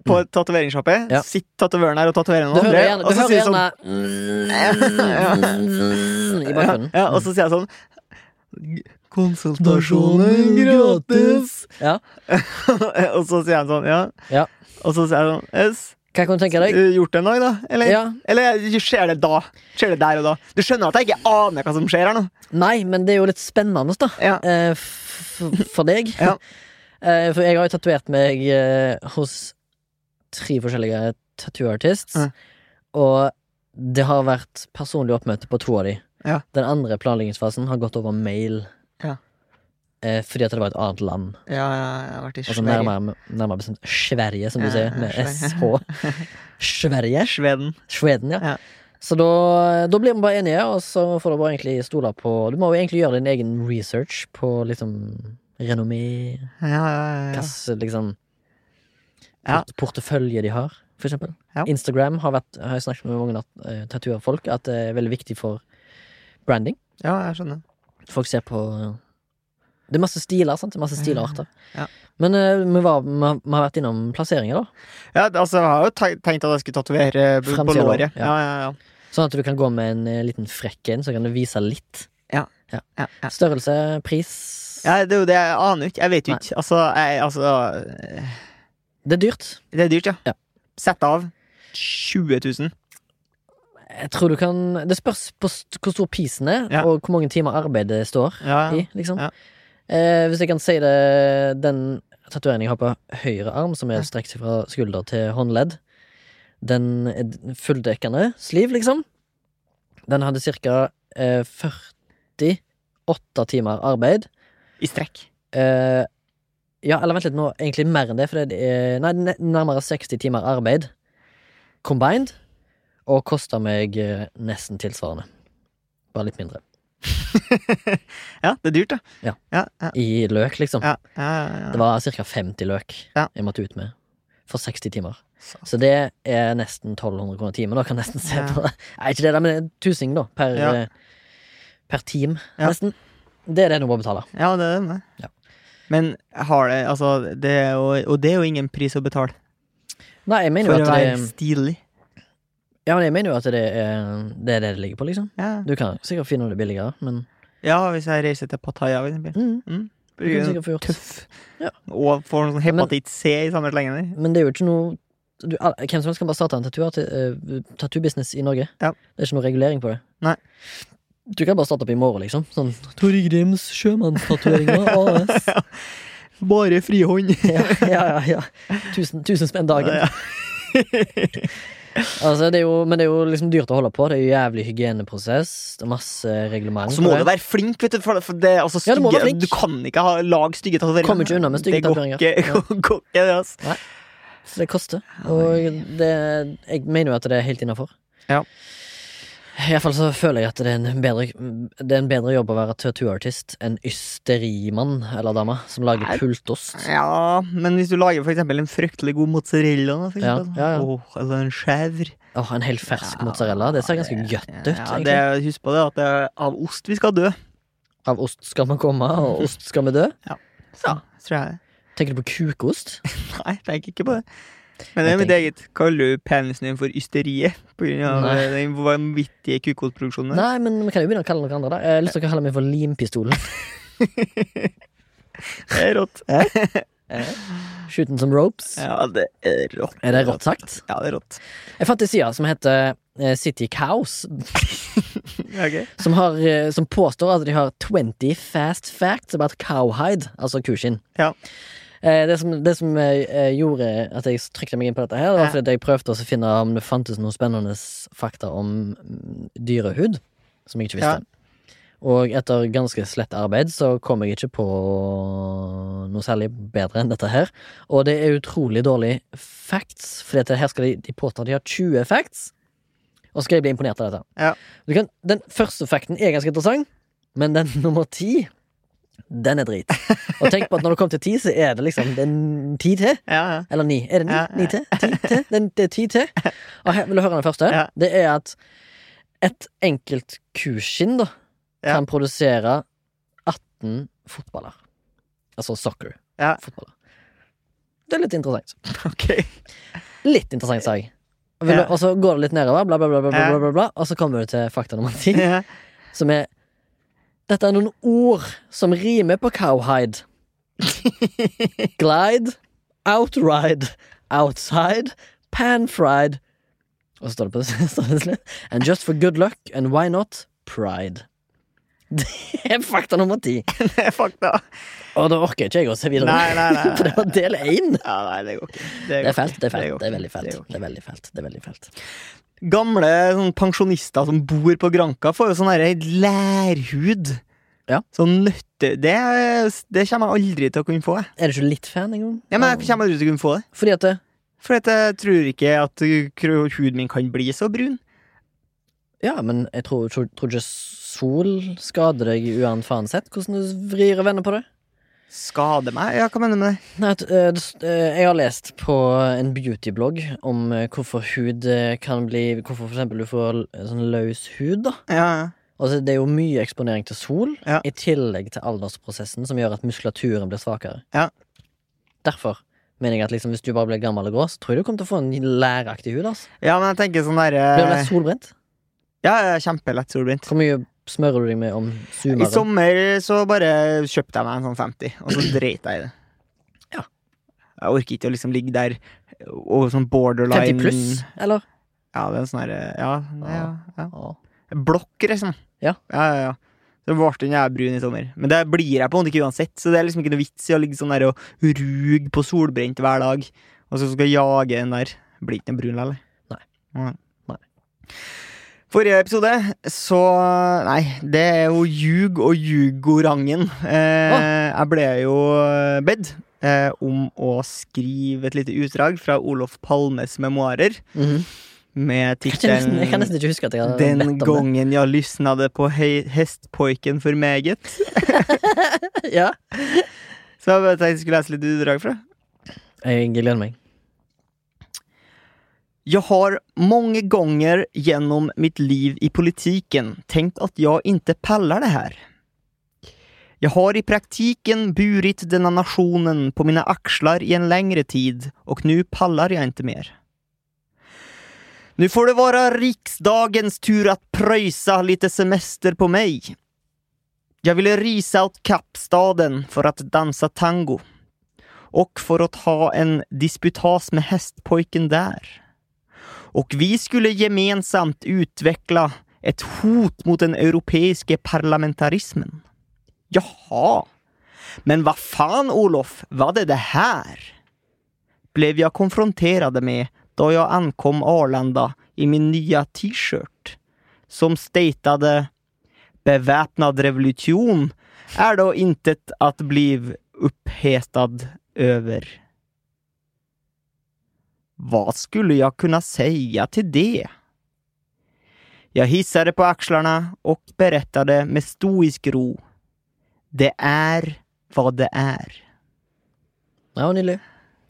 Speaker 2: på et tatoveringssjappe,
Speaker 1: Ja.
Speaker 2: sitter tatovøren her og tatoverer
Speaker 1: Du
Speaker 2: noen
Speaker 1: hører
Speaker 2: andre,
Speaker 1: gjerne, du
Speaker 2: og så
Speaker 1: hører
Speaker 2: sier sånn- jeg sånn
Speaker 1: gjerne Mm, I bakgrunnen.
Speaker 2: Ja, ja, og så sier jeg sånn
Speaker 1: Konsultasjoner gratis. Ja.
Speaker 2: og så sier han sånn, ja.
Speaker 1: Ja.
Speaker 2: Og så sier jeg sånn, yes,
Speaker 1: Hva kan du tenke deg?
Speaker 2: eh, gjort det en dag, da? Eller?
Speaker 1: Ja,
Speaker 2: Eller skjer det da? Skjer det der og da? Du skjønner at jeg ikke aner hva som skjer her nå?
Speaker 1: Nei, men det er jo litt spennende, da.
Speaker 2: Ja.
Speaker 1: Eh, f- f- for deg.
Speaker 2: Ja.
Speaker 1: Eh, for jeg har jo tatovert meg eh, hos tre forskjellige tattoo artists,
Speaker 2: Ja.
Speaker 1: og det har vært personlig oppmøte på to av de.
Speaker 2: Ja.
Speaker 1: Den andre planleggingsfasen har gått over mail.
Speaker 2: Ja.
Speaker 1: Eh, fordi at det var et annet land.
Speaker 2: Ja, ja, jeg har vært i
Speaker 1: Altså nærmere, nærmere bestemt Sverige, som du
Speaker 2: Ja,
Speaker 1: sier.
Speaker 2: ja,
Speaker 1: Med
Speaker 2: Sverige.
Speaker 1: SH. Sverige.
Speaker 2: Sveden.
Speaker 1: Sveden, ja.
Speaker 2: Ja.
Speaker 1: Så da, da blir vi bare enige, og så får du bare egentlig stole på Du må jo egentlig gjøre din egen research på liksom renommé,
Speaker 2: Ja, ja, ja, ja.
Speaker 1: hvilken liksom
Speaker 2: Ja.
Speaker 1: port portefølje de har, for eksempel.
Speaker 2: Ja.
Speaker 1: Instagram har, vært, har jeg snakket med mange nat- eh, tattooerfolk at det er veldig viktig for branding.
Speaker 2: ja, jeg skjønner.
Speaker 1: Folk ser på Det er masse stiler, sant? Det er masse stilarter.
Speaker 2: Ja.
Speaker 1: Men eh, vi, var, vi, har- vi har vært innom plasseringer, da.
Speaker 2: Ja, altså, jeg har jo te- tenkt at jeg skulle tatovere eh, på
Speaker 1: Fremsida,
Speaker 2: låret.
Speaker 1: ja.
Speaker 2: Ja, ja, ja.
Speaker 1: Sånn at du kan gå med en eh, liten frekk en, så kan du vise litt.
Speaker 2: ja, ja.
Speaker 1: Størrelse, pris
Speaker 2: ja det er jo det jeg aner jo ikke. Jeg vet jo
Speaker 1: Nei.
Speaker 2: ikke. Altså, jeg, altså eh,
Speaker 1: Det er dyrt.
Speaker 2: Det er dyrt, ja.
Speaker 1: Ja.
Speaker 2: Sett av 20 000.
Speaker 1: Jeg tror du kan Det spørs på st hvor stor prisen er,
Speaker 2: Ja.
Speaker 1: og hvor mange timer arbeid det står
Speaker 2: Ja, ja.
Speaker 1: i. liksom
Speaker 2: Ja.
Speaker 1: eh, Hvis jeg kan si det Den tatoveringen jeg har på høyre arm, som er strekt fra skulder til håndledd, Den er d- fulldekkende sliv, liksom. Den hadde ca. Eh, 48 timer arbeid.
Speaker 2: I strekk.
Speaker 1: Eh, ja, eller vent litt, nå egentlig mer enn det, for det er nei, ne- nærmere 60 timer arbeid combined, og kosta meg eh, nesten tilsvarende. Bare litt mindre.
Speaker 2: Ja, det er dyrt, da.
Speaker 1: Ja.
Speaker 2: Ja, ja,
Speaker 1: I løk, liksom.
Speaker 2: ja, ja,
Speaker 1: Det
Speaker 2: ja.
Speaker 1: var ca. 50 løk
Speaker 2: Ja.
Speaker 1: jeg måtte ut med. For 60 timer.
Speaker 2: Så-
Speaker 1: Så det er nesten 1200 kroner timen. Da kan jeg nesten se
Speaker 2: Ja.
Speaker 1: på det. Nei, ikke det, da, men det er en tusing, da. Per,
Speaker 2: Ja.
Speaker 1: eh, per team.
Speaker 2: Ja.
Speaker 1: Nesten. Det er det du må betale.
Speaker 2: ja det er det. med.
Speaker 1: Ja.
Speaker 2: Men har det Altså, det er jo, og det er jo ingen pris å betale
Speaker 1: Nei, jeg mener
Speaker 2: for
Speaker 1: jo
Speaker 2: å
Speaker 1: at
Speaker 2: være
Speaker 1: det,
Speaker 2: stilig.
Speaker 1: ja, men jeg mener jo at det, er, det er det det ligger på, liksom.
Speaker 2: Ja.
Speaker 1: Du kan sikkert finne det billigere, men
Speaker 2: ja, hvis jeg reiser til Pattaya, for eksempel.
Speaker 1: mm, du
Speaker 2: Bruker
Speaker 1: kan
Speaker 2: en
Speaker 1: sikkert få gjort
Speaker 2: Tøff.
Speaker 1: Ja.
Speaker 2: Og får en sånn
Speaker 1: Ja, men-
Speaker 2: hepatitt C i samme slengen der.
Speaker 1: Men det er jo ikke noe du, al- Hvem som helst kan bare starte en tattoo- eh, tattoo-business i Norge.
Speaker 2: Ja.
Speaker 1: Det er ikke noe regulering på det.
Speaker 2: Nei.
Speaker 1: Du kan bare starte opp i morgen, liksom. Sånn Tor Ingrims sjømannstatueringer AS.
Speaker 2: Bare frihånd.
Speaker 1: ja, ja, ja, ja. Tusen, tusen spenn dagen.
Speaker 2: Ja.
Speaker 1: Altså, det er jo, men det er jo liksom dyrt å holde på. Det er jo jævlig hygieneprosess. Det er masse reglement.
Speaker 2: Så må
Speaker 1: på
Speaker 2: du
Speaker 1: det.
Speaker 2: være flink, vet du. For for det, er altså,
Speaker 1: Ja,
Speaker 2: stygge,
Speaker 1: du må være flink.
Speaker 2: du kan ikke ha lag stygge tatoveringer.
Speaker 1: Kommer ikke unna med stygge
Speaker 2: Det går
Speaker 1: tatoveringer.
Speaker 2: ikke- går ikke, det, altså.
Speaker 1: Så det koster. Og det, jeg mener jo at det er helt innafor.
Speaker 2: Ja.
Speaker 1: Iallfall så føler jeg at det er en bedre, det er en bedre jobb å være tattooartist enn ysterimann eller dame som lager
Speaker 2: Nei.
Speaker 1: pultost.
Speaker 2: Ja, men hvis du lager for eksempel en fryktelig god mozzarella da, for
Speaker 1: Ja,
Speaker 2: eksempel.
Speaker 1: ja, ja.
Speaker 2: Åh, Eller en chèvre.
Speaker 1: Åh, en helt fersk mozzarella. Det ser ganske godt ut.
Speaker 2: Ja,
Speaker 1: egentlig.
Speaker 2: det, husk på det at det er av ost vi skal dø.
Speaker 1: Av ost skal vi komme, og ost skal vi dø.
Speaker 2: Så, tror jeg.
Speaker 1: Tenker du på kukost?
Speaker 2: Nei, tenk ikke på det. Men det
Speaker 1: Jeg
Speaker 2: er mitt eget. Kaller du penisen din for ysteriet? På grunn av
Speaker 1: Nei.
Speaker 2: eh, den vanvittige kukotproduksjonen? der?
Speaker 1: Nei, men vi kan jo begynne å kalle det noe andre. da Jeg har lyst til å kalle meg for Limpistolen.
Speaker 2: Det er rått.
Speaker 1: Shooting some ropes.
Speaker 2: Ja, det er rått.
Speaker 1: Er det rått sagt?
Speaker 2: Ja, det er rått.
Speaker 1: Jeg fant en side som heter eh, City Cows.
Speaker 2: Ja, ok.
Speaker 1: Som, har, eh, som påstår at de har 20 fast facts about cowhide, altså kuskinn.
Speaker 2: Ja.
Speaker 1: Eh, Det som, det som eh, eh, gjorde at jeg trykte meg inn på dette, her Det var
Speaker 2: Ja.
Speaker 1: fordi at jeg prøvde å finne om det fantes noen spennende fakta om mm, dyrehud. Som jeg ikke visste. Og etter ganske slett arbeid så kom jeg ikke på noe særlig bedre enn dette her. Og det er utrolig dårlig facts, for dette her skal de, de påta de har 20 facts. Og så skal jeg bli imponert av dette.
Speaker 2: Ja.
Speaker 1: Du kan, den første facten er ganske interessant, men den nummer ti, den er drit. Og tenk på at når du kommer til ti, så er det liksom Det er n- ti til.
Speaker 2: Ja, ja.
Speaker 1: Eller ni. Er det ni,
Speaker 2: Ja,
Speaker 1: ni
Speaker 2: ja.
Speaker 1: til? Ti til? Det er, det er ti til. Og her, vil du høre den første?
Speaker 2: Ja.
Speaker 1: Det er at et enkelt kuskinn da,
Speaker 2: Ja.
Speaker 1: kan produsere 18 fotballer. Altså soccer.
Speaker 2: Ja.
Speaker 1: Fotballer. Det er litt interessant.
Speaker 2: Ok.
Speaker 1: Litt interessant sag. Og vil du-
Speaker 2: Ja.
Speaker 1: Og så går det litt nedover, bla, bla, bla, bla, bla,
Speaker 2: Ja.
Speaker 1: bla, bla, bla. og så kommer du til fakta nummer ti.
Speaker 2: Ja.
Speaker 1: Som er Dette er noen ord som rimer på cowhide. Glide, outride, outside, panfried. Og så står det på står det slutt. And just for good luck, and why not pride. Det er fakta nummer ti.
Speaker 2: Det er fakta.
Speaker 1: Og da orker ikke jeg å se videre.
Speaker 2: Nei, nei, nei, nei.
Speaker 1: For det var del én.
Speaker 2: Ja, nei, det går ikke.
Speaker 1: Det er fælt. Det er fælt.
Speaker 2: går
Speaker 1: Det er
Speaker 2: ikke.
Speaker 1: veldig
Speaker 2: Det
Speaker 1: fælt.
Speaker 2: går ikke.
Speaker 1: Det er veldig fælt. Det er veldig fælt.
Speaker 2: Gamle sånn, pensjonister som bor på Granka, får jo sånn herre lærhud.
Speaker 1: Ja.
Speaker 2: Sånn nøtte... Det, det kommer jeg aldri til å kunne få. jeg.
Speaker 1: Er du ikke litt fan engang?
Speaker 2: Ja, men jeg kommer aldri til å kunne få det.
Speaker 1: Fordi at det,
Speaker 2: For at jeg tror ikke at kro- huden min kan bli så brun.
Speaker 1: Ja, men jeg tror, tror, tror ikke sol skader deg uansett hvordan du vrir og vender på det.
Speaker 2: Skader meg? Ja, hva mener du med det?
Speaker 1: Nei, at, eh, det s- eh, Jeg har lest på en beautyblogg om eh, hvorfor hud eh, kan bli Hvorfor for eksempel du får l- sånn løs hud, da.
Speaker 2: Ja, ja.
Speaker 1: Altså, det er jo mye eksponering til sol,
Speaker 2: Ja.
Speaker 1: i tillegg til aldersprosessen, som gjør at muskulaturen blir svakere.
Speaker 2: Ja.
Speaker 1: Derfor mener jeg at liksom, hvis du bare blir gammel og grå, så tror jeg du kommer til å få en læraktig hud. Altså.
Speaker 2: ja, men jeg tenker sånn
Speaker 1: Blir du lett
Speaker 2: derre
Speaker 1: solbrent?
Speaker 2: Ja, ja, kjempelett solbrent.
Speaker 1: Hvor mye smører du deg med om
Speaker 2: I
Speaker 1: zoomeren?
Speaker 2: sommer så bare kjøpte jeg meg en sånn 50, og så dreit jeg i det.
Speaker 1: Ja.
Speaker 2: Jeg orker ikke å liksom ligge der og sånn borderline
Speaker 1: 50 pluss, eller?
Speaker 2: Ja, det er en sånn herre ja, det er- ja,
Speaker 1: Ja.
Speaker 2: ja. Blokk, liksom.
Speaker 1: Ja.
Speaker 2: ja, ja. ja. Så ble den jeg brun i sommer. Men det blir jeg på en måte ikke uansett, så det er liksom ikke noe vits i å ligge sånn der og ruge på solbrent hver dag, og så skal jeg jage den der. Blir ikke noe brun likevel.
Speaker 1: Nei.
Speaker 2: Nei.
Speaker 1: Nei.
Speaker 2: Forrige episode, så Nei, det er jo ljug og ljugorangen. Eh, Jeg ble jo bedt eh, om å skrive et lite utdrag fra Olof Palmes memoarer med
Speaker 1: Jeg kan nesten- Jeg kan
Speaker 2: tittelen
Speaker 1: nesten ikke huske at jeg har
Speaker 2: Mhm. den
Speaker 1: bedt om det.
Speaker 2: gangen jeg lysnade på hei- hestpoiken for meget.
Speaker 1: Ja.
Speaker 2: Så jeg bare tenkte jeg skulle lese litt utdrag fra.
Speaker 1: Jeg gleder meg.
Speaker 2: Jag har många gånger genom mitt liv i politiken tänkt att jag inte pallar det här. Jag har i praktiken burit denna nationen på mina axlar i en längre tid och nu pallar jag inte mer. Nu får det vara riksdagens tur att pröjsa lite semester på mig. Jag ville risa åt Kapstaden för att dansa tango och för att ha en disputas med hästpojken där och vi skulle gemensamt utveckla ett hot mot den europeiska parlamentarismen. Jaha, men vad fan Olof, vad är det här? Blev jag konfronterad med då jag ankom Arlanda i min nya t-shirt som statade beväpnad revolution är då intet att bli upphetad över. Vad skulle jag kunna säga till det? Jag hissade på axlarna och berättade med stoisk ro. Det är vad det är.
Speaker 1: Ja, nydelig.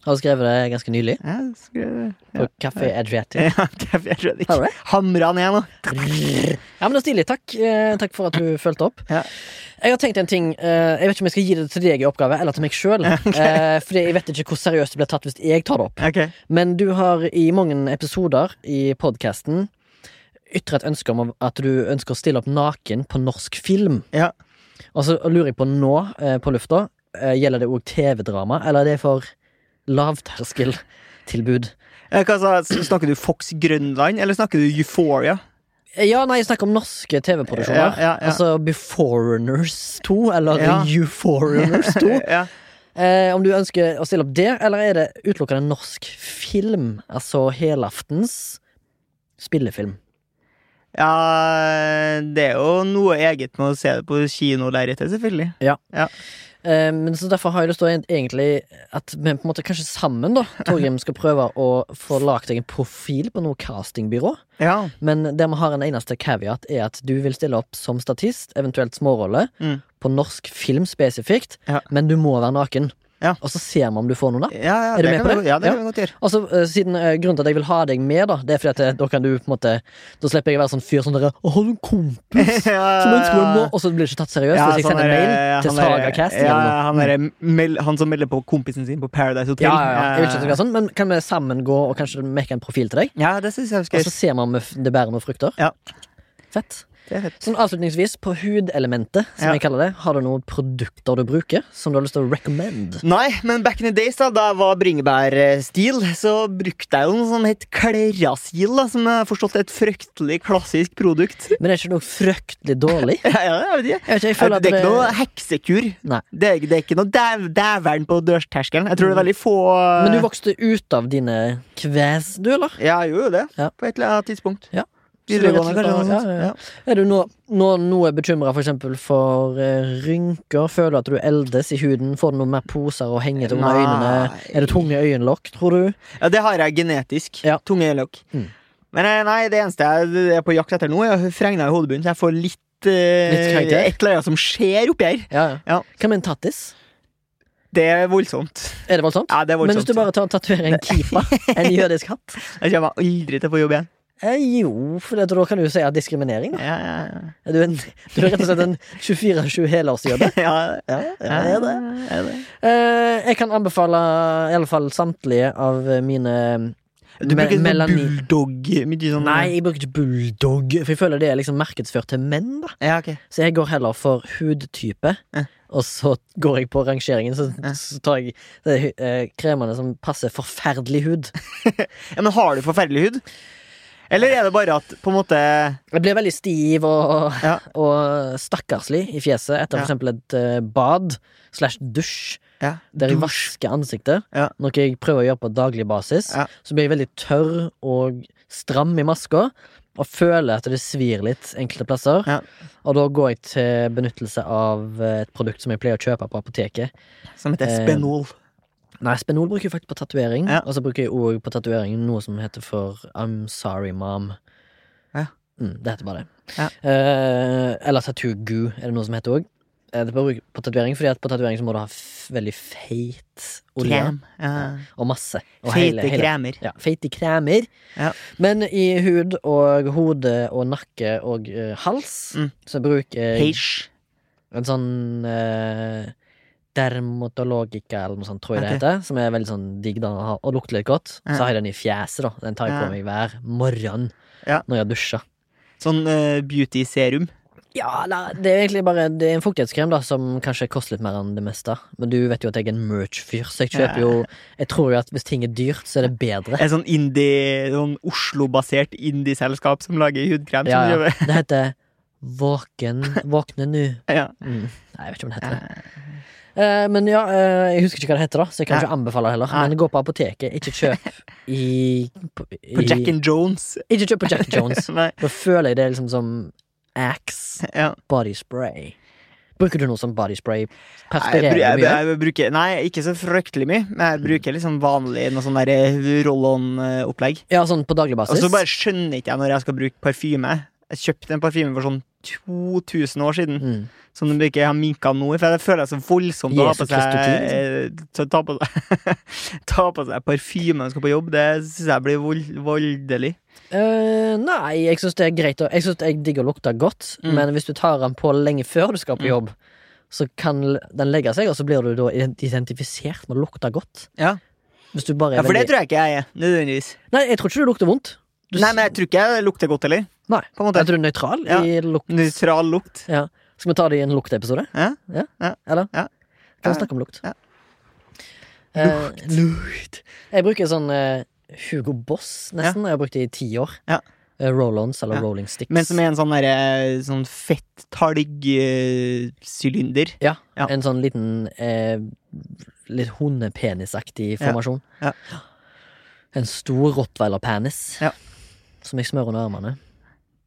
Speaker 1: Har du skrevet det ganske nylig?
Speaker 2: Ja, skrev
Speaker 1: På
Speaker 2: Ja.
Speaker 1: Café Adriatic.
Speaker 2: Ja, jeg tror det
Speaker 1: Har du
Speaker 2: ikke.
Speaker 1: det?
Speaker 2: Hamra ned nå.
Speaker 1: Ja, men det er stilig. Takk Eh, Takk for at du fulgte opp.
Speaker 2: Ja.
Speaker 1: Jeg har tenkt en ting eh, Jeg vet ikke om jeg skal gi det til deg i oppgave, eller til meg sjøl. For jeg vet ikke hvor seriøst det blir tatt hvis jeg tar det opp.
Speaker 2: Ok.
Speaker 1: Men du har i mange episoder i podkasten ytra et ønske om at du ønsker å stille opp naken på norsk film.
Speaker 2: Ja.
Speaker 1: Og så lurer jeg på nå, eh, på lufta, eh, gjelder det òg TV-drama, eller er det for lavterskeltilbud?
Speaker 2: Eh, Hva sa, snakker du Fox Grønland, eller snakker du Euphoria?
Speaker 1: Eh, Ja, nei, snakk om norske TV-produksjoner.
Speaker 2: Ja, ja, ja.
Speaker 1: Altså Beforeigners 2, eller
Speaker 2: Ja.
Speaker 1: Euforeigners 2.
Speaker 2: Ja.
Speaker 1: Eh, om du ønsker å stille opp det, eller er det utelukkende norsk film? Altså helaftens spillefilm.
Speaker 2: ja, det er jo noe eget med å se det på kinolerretet, selvfølgelig.
Speaker 1: Eh, men så Derfor har jeg lyst til å en- egentlig at vi på en måte kanskje sammen da Torgrim skal prøve å få lagd deg en profil på noe castingbyrå.
Speaker 2: Ja.
Speaker 1: Men der vi har en eneste caveat, er at du vil stille opp som statist, eventuelt smårolle,
Speaker 2: Mm.
Speaker 1: på norsk film spesifikt,
Speaker 2: Ja.
Speaker 1: men du må være naken.
Speaker 2: Ja.
Speaker 1: Og så ser vi om du får noen, da.
Speaker 2: Ja, ja,
Speaker 1: Er du
Speaker 2: det
Speaker 1: med
Speaker 2: kan
Speaker 1: på
Speaker 2: vi-
Speaker 1: det?
Speaker 2: Ja, det
Speaker 1: Ja.
Speaker 2: kan vi godt gjøre.
Speaker 1: Og så eh, siden eh, Grunnen til at jeg vil ha deg med, da Det er fordi at eh, da kan du på en måte Da slipper jeg å være sånn fyr som dere Å, har du en kompis som ønsker meg nå? Og så blir det ikke tatt seriøst
Speaker 2: Ja,
Speaker 1: hvis jeg
Speaker 2: sånn
Speaker 1: sender
Speaker 2: der,
Speaker 1: mail
Speaker 2: eh,
Speaker 1: til
Speaker 2: han der-
Speaker 1: Saga Casting.
Speaker 2: ja,
Speaker 1: eller noe.
Speaker 2: han, der, eh, mel, han som melder på kompisen sin på Paradise Hotel. Eh,
Speaker 1: ja, ja, ja. Jeg vil ikke at det skal være sånn, men kan vi sammen gå og kanskje make en profil til deg?
Speaker 2: Ja, det syns jeg vi skal
Speaker 1: Og
Speaker 2: gjøre.
Speaker 1: så ser vi om det bærer noen frukter.
Speaker 2: Ja.
Speaker 1: Fett.
Speaker 2: Det er fett.
Speaker 1: Sånn Avslutningsvis, på hudelementet, som
Speaker 2: Ja.
Speaker 1: jeg kaller det, har du noen produkter du bruker som du har lyst til å recommend?
Speaker 2: Nei, men back in the days, da da jeg var bringebærstil, så brukte jeg jo noe som het Klerasil, da, som jeg har forstått er et fryktelig klassisk produkt.
Speaker 1: Men det er ikke noe fryktelig dårlig?
Speaker 2: Ja, ja, jeg vet ikke.
Speaker 1: Jeg vet ikke, jeg
Speaker 2: Det
Speaker 1: føler
Speaker 2: er
Speaker 1: at det,
Speaker 2: ikke noe heksekur.
Speaker 1: Nei.
Speaker 2: Det er, det er ikke noe dæv- dævelen på dørterskelen. Jeg tror det er veldig få
Speaker 1: Mm.
Speaker 2: eh,
Speaker 1: Men du vokste ut av dine kves, du, eller?
Speaker 2: Ja, jeg gjorde jo det.
Speaker 1: Ja.
Speaker 2: På et eller annet tidspunkt.
Speaker 1: Ja.
Speaker 2: Videregående,
Speaker 1: Så det er rett
Speaker 2: kanskje.
Speaker 1: og slett
Speaker 2: noe
Speaker 1: bare-
Speaker 2: sånt.
Speaker 1: ja, ja, ja. Er du nå, nå noe bekymra for eksempel for eh, rynker? Føler du at du eldes i huden? Får du noen mer poser og henge til under
Speaker 2: Nei.
Speaker 1: øynene? Er det tunge øyenlokk, tror du?
Speaker 2: Ja, det har jeg genetisk.
Speaker 1: Ja.
Speaker 2: Tunge øyelokk.
Speaker 1: Mm.
Speaker 2: Men eh, nei, det eneste jeg er på jakt etter nå, er fregna i hodebunnen, så jeg får litt, eh,
Speaker 1: Litt karakter.
Speaker 2: Et eller annet som skjer oppi her.
Speaker 1: Ja.
Speaker 2: Ja.
Speaker 1: Hva med en tattis?
Speaker 2: Det er voldsomt.
Speaker 1: Er det voldsomt?
Speaker 2: Ja, det er
Speaker 1: Men hvis
Speaker 2: voldsomt.
Speaker 1: du bare tar og tatoverer en keeper, en jødisk hatt
Speaker 2: Jeg kommer aldri til å få jobb igjen.
Speaker 1: eh, Jo, for det, da kan du jo si at diskriminering, da.
Speaker 2: Ja, ja, ja.
Speaker 1: Er du, en, du er rett og slett en 24-7 helårsjøde.
Speaker 2: ja,
Speaker 1: ja,
Speaker 2: ja,
Speaker 1: det er det.
Speaker 2: er det.
Speaker 1: Eh, jeg kan anbefale i alle fall samtlige av mine
Speaker 2: Du
Speaker 1: me-
Speaker 2: bruker sånn
Speaker 1: melanin-
Speaker 2: bulldog mye sånn
Speaker 1: Nei, jeg bruker ikke bulldog, for jeg føler det er liksom markedsført til menn. da
Speaker 2: Ja, ok.
Speaker 1: Så jeg går heller for hudtype,
Speaker 2: Ja.
Speaker 1: og så går jeg på rangeringen. Så, så tar jeg det, eh, kremene som passer forferdelig hud.
Speaker 2: ja, Men har du forferdelig hud? Eller er det bare at på en måte
Speaker 1: Jeg blir veldig stiv og,
Speaker 2: Ja.
Speaker 1: og stakkarslig i fjeset etter for
Speaker 2: Ja.
Speaker 1: eksempel et eh, bad slash dusj.
Speaker 2: ja,
Speaker 1: Der jeg
Speaker 2: dusj-
Speaker 1: vasker ansiktet,
Speaker 2: Ja.
Speaker 1: noe jeg prøver å gjøre på daglig basis.
Speaker 2: Ja.
Speaker 1: Så blir jeg veldig tørr og stram i maska og føler at det svir litt enkelte plasser.
Speaker 2: Ja.
Speaker 1: Og da går jeg til benyttelse av eh, et produkt som jeg pleier å kjøpe på apoteket.
Speaker 2: Som heter
Speaker 1: Eh,
Speaker 2: Spenol.
Speaker 1: Nei, Spenol bruker jeg faktisk på tatovering,
Speaker 2: Ja.
Speaker 1: og så bruker jeg òg på tatovering noe som heter for I'm sorry, mom.
Speaker 2: Ja.
Speaker 1: Mm, det heter bare det.
Speaker 2: Ja.
Speaker 1: Eh, eller tattoo goo, er det noe som heter òg. Eh, det er bare på tatovering, fordi at på tatovering så må du ha f veldig feit olje.
Speaker 2: Krem. Ja.
Speaker 1: Og masse. Og hele-
Speaker 2: Feite
Speaker 1: hele-
Speaker 2: kremer.
Speaker 1: ja, feite kremer.
Speaker 2: Ja.
Speaker 1: Men i hud og hode og nakke og eh, hals
Speaker 2: Mm.
Speaker 1: så bruker jeg
Speaker 2: Heish.
Speaker 1: en sånn eh, dermatologica eller noe sånt, tror jeg det
Speaker 2: Ok.
Speaker 1: heter. Som er veldig sånn digg da, å ha- og lukter litt godt.
Speaker 2: Ja.
Speaker 1: Så har jeg den i fjeset, da. Den tar jeg
Speaker 2: Ja.
Speaker 1: på meg hver morgen
Speaker 2: Ja.
Speaker 1: når jeg dusjer.
Speaker 2: Sånn eh, beauty serum.
Speaker 1: Ja, nei, det er egentlig bare Det er en fuktighetskrem da som kanskje koster litt mer enn det meste. Men du vet jo at jeg er en merch-fyr, så jeg kjøper
Speaker 2: Ja.
Speaker 1: jo Jeg tror jo at hvis ting er dyrt, så er det bedre.
Speaker 2: Et sånn indie, sånn Oslo-basert indie-selskap som lager hudkrem.
Speaker 1: Ja,
Speaker 2: Som
Speaker 1: ja.
Speaker 2: gjør-
Speaker 1: Det heter Våken Våkne nu.
Speaker 2: ja.
Speaker 1: Mm. Nei, jeg vet ikke om det heter det. Eh, men ja, eh, jeg husker ikke hva det heter, da så jeg kan
Speaker 2: Nei.
Speaker 1: ikke anbefale det heller.
Speaker 2: Nei.
Speaker 1: Men gå på apoteket, ikke kjøp i, på, i
Speaker 2: På Jack and Jones.
Speaker 1: Ikke kjøp på Jack and Jones.
Speaker 2: Nei,
Speaker 1: Da føler jeg det er liksom som Axe
Speaker 2: ja.
Speaker 1: body spray. Bruker du noe som body spray?
Speaker 2: Nei, jeg, bru-
Speaker 1: Perspirerer
Speaker 2: jeg,
Speaker 1: du mye?
Speaker 2: jeg, bruker Nei, ikke så fryktelig mye. Men jeg bruker liksom vanlig noe sånn der, eh, roll-on-opplegg.
Speaker 1: Ja, sånn på daglig
Speaker 2: Og
Speaker 1: basis?
Speaker 2: så bare skjønner ikke jeg når jeg skal bruke parfyme. Jeg kjøpte en parfyme for sånn 2000 år siden,
Speaker 1: mm.
Speaker 2: som de ikke har minka nå. For jeg føler det er så voldsomt å ha på
Speaker 1: Jesus
Speaker 2: seg
Speaker 1: Kristus,
Speaker 2: eh, så Ta på seg, ta på seg parfyme når man skal på jobb. Det syns jeg blir vold, voldelig.
Speaker 1: Eh, nei, jeg syns det er greit. å- Jeg synes jeg digger å lukte godt,
Speaker 2: Mm.
Speaker 1: men hvis du tar den på lenge før du skal på
Speaker 2: Mm.
Speaker 1: jobb, så kan l- den legge seg, og så blir du da ident- identifisert med å lukte godt.
Speaker 2: Ja.
Speaker 1: Hvis du bare er
Speaker 2: Ja, For det
Speaker 1: veldig...
Speaker 2: tror jeg ikke jeg er. Nødvendigvis.
Speaker 1: Nei, jeg tror ikke du lukter vondt. Du s-
Speaker 2: Nei, men jeg tror ikke jeg lukter godt heller.
Speaker 1: Nei.
Speaker 2: På
Speaker 1: Jeg
Speaker 2: en
Speaker 1: tror
Speaker 2: måte.
Speaker 1: du er nøytral
Speaker 2: Ja.
Speaker 1: i lukt.
Speaker 2: Nøytral lukt.
Speaker 1: Skal vi ta det i en lukteepisode?
Speaker 2: Ja.
Speaker 1: Ja?
Speaker 2: Ja.
Speaker 1: Eller?
Speaker 2: Ja.
Speaker 1: Kan
Speaker 2: Ja.
Speaker 1: vi snakke om lukt?
Speaker 2: Ja.
Speaker 1: Eh, lukt. Jeg bruker sånn eh, Hugo Boss, nesten. Jeg har brukt det i ti år.
Speaker 2: Ja.
Speaker 1: Eh, Roll-ons eller
Speaker 2: Ja.
Speaker 1: rolling sticks.
Speaker 2: Men som er en sånn derre sånn eh, fett talgsylinder.
Speaker 1: Ja,
Speaker 2: Ja.
Speaker 1: en sånn liten eh, Litt hundepenisaktig formasjon.
Speaker 2: ja.
Speaker 1: En stor rottweiler-penis
Speaker 2: Ja.
Speaker 1: som jeg smører under armene.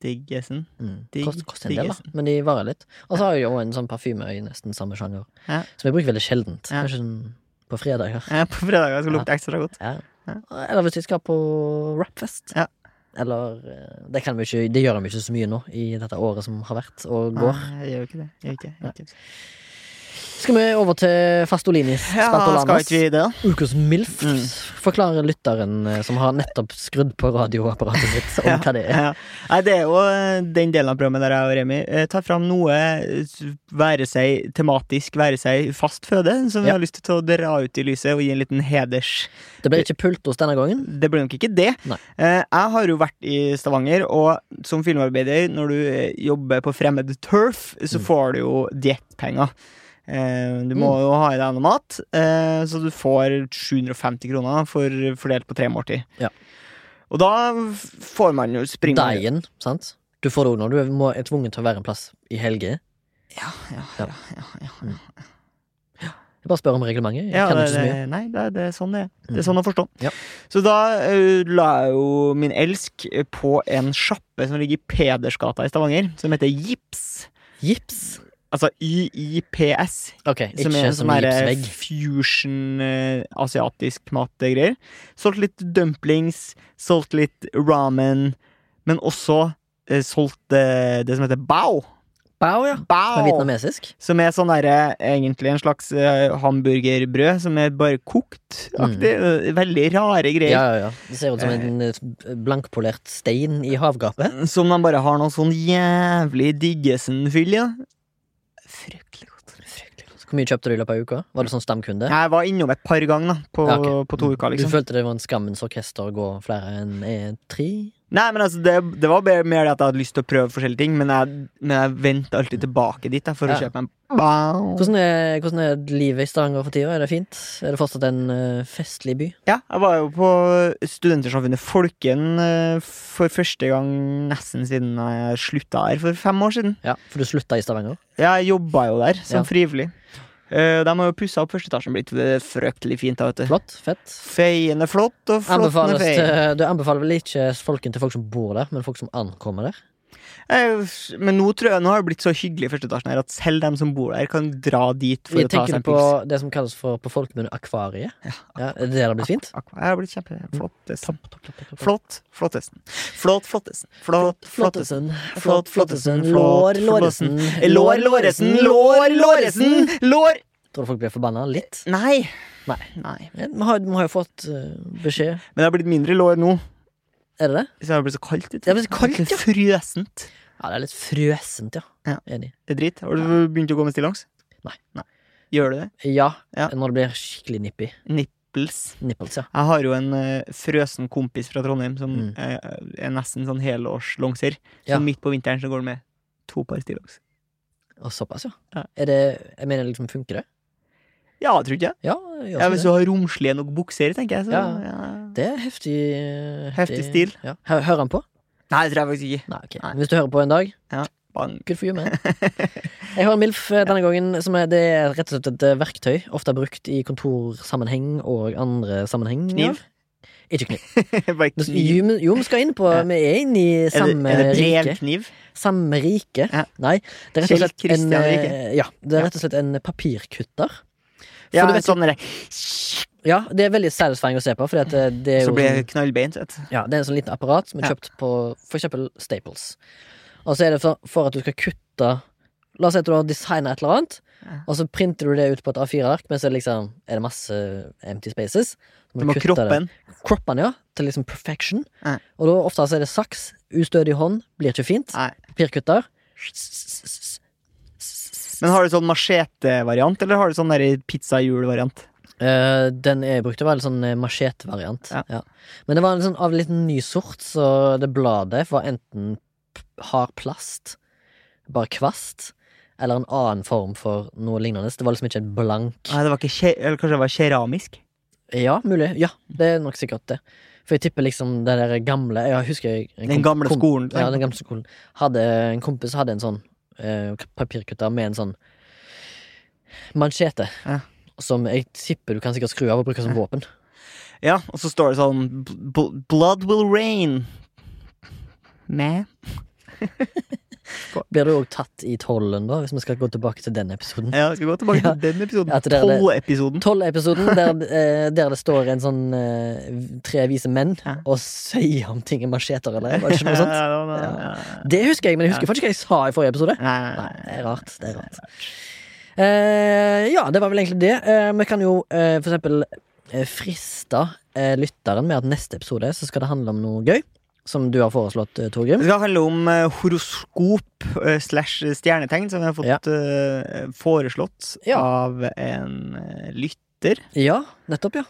Speaker 2: Diggesen.
Speaker 1: Mm.
Speaker 2: Digg-
Speaker 1: Kost, koster en del, da,
Speaker 2: diggesen.
Speaker 1: men de varer litt. Og så har jeg jo en sånn parfyme i nesten samme sjanger,
Speaker 2: Ja.
Speaker 1: som jeg bruker veldig sjeldent.
Speaker 2: Ja.
Speaker 1: Kanskje sånn på fredager.
Speaker 2: Ja, På fredager skal det lukte ekstra godt.
Speaker 1: Ja.
Speaker 2: Ja.
Speaker 1: Eller hvis vi skal på rapfest.
Speaker 2: Ja.
Speaker 1: Eller eh, det, kan vi ikke, det gjør de ikke så mye nå i dette året som har vært og går.
Speaker 2: Nei, jeg gjør ikke det. Jeg gjør ikke, det. jeg gjør ikke. det.
Speaker 1: Skal vi over til Fastolinis
Speaker 2: Ja, skal
Speaker 1: spatolanas?
Speaker 2: ikke vi det, da?
Speaker 1: Ukas MILF
Speaker 2: Mm.
Speaker 1: forklarer lytteren eh, som har nettopp skrudd på radioapparatet sitt, om
Speaker 2: Ja.
Speaker 1: hva det er.
Speaker 2: Ja. Nei, det er jo eh, den delen av programmet der jeg og Remi eh, tar fram noe, eh, s- være seg tematisk, være seg fast føde, som vi
Speaker 1: Ja.
Speaker 2: har lyst til å dra ut i lyset og gi en liten heders.
Speaker 1: Det blir ikke pultos denne gangen.
Speaker 2: Det blir nok ikke det.
Speaker 1: Nei.
Speaker 2: Eh, Jeg har jo vært i Stavanger, og som filmarbeider, når du eh, jobber på fremmed turf, så
Speaker 1: Mm.
Speaker 2: får du jo diettpenger. Eh, Du må jo ha i deg noe mat, eh, så du får 750 kroner for, fordelt på tre måltid.
Speaker 1: Ja.
Speaker 2: Og da f- får man jo springe
Speaker 1: Dagen, sant? Du får det òg når du er- må, er tvungen til å være en plass i helger.
Speaker 2: Ja, ja,
Speaker 1: Ja.
Speaker 2: ja, ja, ja.
Speaker 1: Jeg bare spør om reglementet. Jeg
Speaker 2: Ja,
Speaker 1: kan
Speaker 2: det,
Speaker 1: ikke så mye.
Speaker 2: det, nei, det, det er sånn det er. Det
Speaker 1: Mm.
Speaker 2: er sånn å forstå.
Speaker 1: Ja.
Speaker 2: Så da eh, la jeg jo min elsk eh, på en sjappe som ligger i Pedersgata i Stavanger, som heter Jips.
Speaker 1: Gips.
Speaker 2: Altså YIPS,
Speaker 1: Ok,
Speaker 2: som er
Speaker 1: ikke
Speaker 2: en
Speaker 1: som
Speaker 2: sånn
Speaker 1: en
Speaker 2: derre
Speaker 1: gipsvegg.
Speaker 2: fusion eh, asiatisk matgreier. Solgt litt dumplings, solgt litt ramen, men også eh, solgt eh, det som heter bao.
Speaker 1: Bao, ja.
Speaker 2: Bao!
Speaker 1: Med vietnamesisk.
Speaker 2: Som er sånn derre egentlig en slags eh, hamburgerbrød som er bare kokt aktig. Eh, Veldig rare
Speaker 1: Mm. Ja,
Speaker 2: greier.
Speaker 1: ja, ja. Det ser ut som en eh, blankpolert stein i havgapet.
Speaker 2: Som de bare har noe sånn jævlig diggesen-fyll i. da. Fryktelig godt.
Speaker 1: Fryktelig godt. Hvor mye kjøpte du i løpet av uka? Var du sånn stamkunde?
Speaker 2: Jeg var innom et par ganger da, på,
Speaker 1: Ja, ok. Mm.
Speaker 2: på to uker,
Speaker 1: Du
Speaker 2: liksom.
Speaker 1: følte det var en skammens orkester å gå flere enn eh, tre?
Speaker 2: Nei, men altså, det, det var bare mer det at jeg hadde lyst til å prøve forskjellige ting, men jeg, men jeg vendte alltid tilbake dit da, for å
Speaker 1: Ja.
Speaker 2: kjøpe en bao.
Speaker 1: Hvordan er, hvordan er livet i Stavanger for tida? Er det fint? Er det fortsatt en eh, festlig by?
Speaker 2: Ja, jeg var jo på Studentersamfunnet Folken eh, for første gang nesten siden jeg slutta her for fem år siden.
Speaker 1: Ja, For du slutta i Stavanger?
Speaker 2: Ja, jeg jobba jo der som
Speaker 1: Ja.
Speaker 2: frivillig. Eh, de har jo pussa opp første etasjen, blitt eh, fryktelig fint. da, vet du.
Speaker 1: Flott. Fett.
Speaker 2: Feiende flott, og flottende
Speaker 1: Anbefales
Speaker 2: fei.
Speaker 1: til, eh, du anbefaler vel ikke folken til folk som bor der, men folk som ankommer der?
Speaker 2: Eh, Men nå tror jeg, nå har det blitt så hyggelig i første etasjen her at selv dem som bor der, kan dra dit for
Speaker 1: Jeg
Speaker 2: å ta
Speaker 1: tenker
Speaker 2: seg en
Speaker 1: på
Speaker 2: pils.
Speaker 1: det som kalles for på folkemunne akvariet. Ja, er det der det blir fint?
Speaker 2: Aqua her har blitt kjempeflott. Dessen.
Speaker 1: Topp, topp, topp, topp, topp.
Speaker 2: Flott, flottesten. Flott, flottesten. Flott,
Speaker 1: Flottesen.
Speaker 2: flottesten. Flott, flottesen.
Speaker 1: Lår,
Speaker 2: Flott,
Speaker 1: låresen.
Speaker 2: Lår, låresen, lår, låresen, lår
Speaker 1: Tror du folk blir forbanna? Litt?
Speaker 2: Nei.
Speaker 1: Nei.
Speaker 2: Nei.
Speaker 1: Ja, Vi har, vi har jo fått eh, beskjed
Speaker 2: Men det har blitt mindre lår nå.
Speaker 1: Er det det?
Speaker 2: Så det har blitt så kaldt. ute.
Speaker 1: Det har blitt så kaldt,
Speaker 2: Litt
Speaker 1: ja.
Speaker 2: Frøsent.
Speaker 1: Ja, det er litt frøsent, ja.
Speaker 2: Ja.
Speaker 1: Enig.
Speaker 2: Det er dritt. Har du begynt å gå med stillongs?
Speaker 1: Nei.
Speaker 2: Gjør du det?
Speaker 1: Ja,
Speaker 2: Ja.
Speaker 1: når det blir skikkelig nippy.
Speaker 2: Nipples.
Speaker 1: Nipples, ja.
Speaker 2: Jeg har jo en eh, frøsen kompis fra Trondheim som
Speaker 1: Mm.
Speaker 2: eh, er nesten sånn helårslongser.
Speaker 1: Ja.
Speaker 2: Så midt på vinteren så går han med to par stillongs.
Speaker 1: Og såpass, ja.
Speaker 2: Ja.
Speaker 1: Er det Jeg mener, liksom, funker det?
Speaker 2: Ja, tror ikke jeg.
Speaker 1: Ja, det gjør
Speaker 2: Ja,
Speaker 1: sånn
Speaker 2: hvis
Speaker 1: det.
Speaker 2: du har romslige nok bukser, tenker jeg. Så,
Speaker 1: Ja.
Speaker 2: ja.
Speaker 1: Det er heftig eh,
Speaker 2: Heftig stil.
Speaker 1: Ja. Hø- Hører han på?
Speaker 2: Nei, det tror jeg faktisk ikke.
Speaker 1: Nei, ok.
Speaker 2: Nei.
Speaker 1: Men Hvis du hører på en dag,
Speaker 2: Bare en-
Speaker 1: good for you, man. Jeg har en MILF eh, denne gangen, som er, det er rett og slett et eh, verktøy. Ofte brukt i kontorsammenheng og andre sammenhenger.
Speaker 2: Kniv?
Speaker 1: Ikke kniv.
Speaker 2: bare
Speaker 1: Det-
Speaker 2: kniv.
Speaker 1: Jo, men- jo, vi skal inn på
Speaker 2: Ja.
Speaker 1: Vi er inne i
Speaker 2: Er det,
Speaker 1: samme
Speaker 2: er det
Speaker 1: rike.
Speaker 2: brevkniv?
Speaker 1: Samme rike.
Speaker 2: Ja.
Speaker 1: Nei, det er rett og
Speaker 2: Kjell
Speaker 1: slett en,
Speaker 2: Kristian
Speaker 1: eh, ja, det
Speaker 2: Ja.
Speaker 1: er rett og slett en papirkutter. For
Speaker 2: Ja,
Speaker 1: du vet jo-
Speaker 2: sånn er det.
Speaker 1: ja, det er veldig satisfying å se på, for det er
Speaker 2: Så
Speaker 1: jo
Speaker 2: blir
Speaker 1: sånn,
Speaker 2: jeg knallbeint, vet du.
Speaker 1: ja, det er en sånn liten apparat som er
Speaker 2: Ja.
Speaker 1: kjøpt på for eksempel Staples. Og så er det for, for at du skal kutte La oss si at du har designa et eller annet,
Speaker 2: Ja.
Speaker 1: og så printer du det ut på et A4-ark, men så er det liksom er det masse empty spaces. Så
Speaker 2: Du må
Speaker 1: kutte det.
Speaker 2: kroppen.
Speaker 1: Kroppe den, ja, til liksom perfection.
Speaker 2: Ja.
Speaker 1: Og da ofte så er det saks. Ustødig hånd blir ikke fint.
Speaker 2: Nei.
Speaker 1: Papirkutter.
Speaker 2: Men har du sånn machete-variant, eller har du sånn der pizzahjul-variant?
Speaker 1: Eh, den jeg brukte, var en sånn eh, machete-variant.
Speaker 2: Ja.
Speaker 1: Ja. Men det var en sånn, av en liten ny sort, så det bladet var enten p- hard plast, bare kvast, eller en annen form for noe lignende. Det var liksom ikke en blank
Speaker 2: Nei, det var ikke ke- Eller kanskje det var keramisk?
Speaker 1: Ja, mulig. Ja, det er nok sikkert det. For jeg tipper liksom det der gamle Jeg husker jeg, en
Speaker 2: Den
Speaker 1: kom-
Speaker 2: gamle
Speaker 1: kom-
Speaker 2: skolen.
Speaker 1: Ja, den gamle skolen. Hadde en kompis hadde en sånn eh, papirkutter med en sånn manchete.
Speaker 2: Ja.
Speaker 1: Som jeg tipper du kan sikkert skru av og bruke som våpen.
Speaker 2: Ja, og så står det sånn bl- bl- Blood will rain. Mæ?
Speaker 1: Blir du òg tatt i tollen, da, hvis vi skal gå tilbake til den episoden?
Speaker 2: Ja, skal vi gå tilbake til den episoden.
Speaker 1: Ja, til det er det-
Speaker 2: Tolv-episoden.
Speaker 1: Tollepisoden, der, eh, der det står en sånn eh, tre vise menn
Speaker 2: Ja.
Speaker 1: og sier om ting er macheter eller var det ikke noe sånt?
Speaker 2: Ja, det var noe-
Speaker 1: Ja.
Speaker 2: ja.
Speaker 1: Det husker jeg, men jeg husker faktisk ikke hva jeg sa i forrige episode.
Speaker 2: Nei, nei,
Speaker 1: Nei,
Speaker 2: nei.
Speaker 1: det er rart. Det er rart. Eh, ja, det var vel egentlig det. Eh, vi kan jo eh, for eksempel eh, friste eh, lytteren med at neste episode så skal det handle om noe gøy. Som du har foreslått, eh, Torgrim.
Speaker 2: Det skal handle om eh, horoskop eh, slash stjernetegn, som vi har fått
Speaker 1: Ja.
Speaker 2: eh, foreslått
Speaker 1: Ja.
Speaker 2: av en eh, lytter
Speaker 1: Ja, nettopp, ja.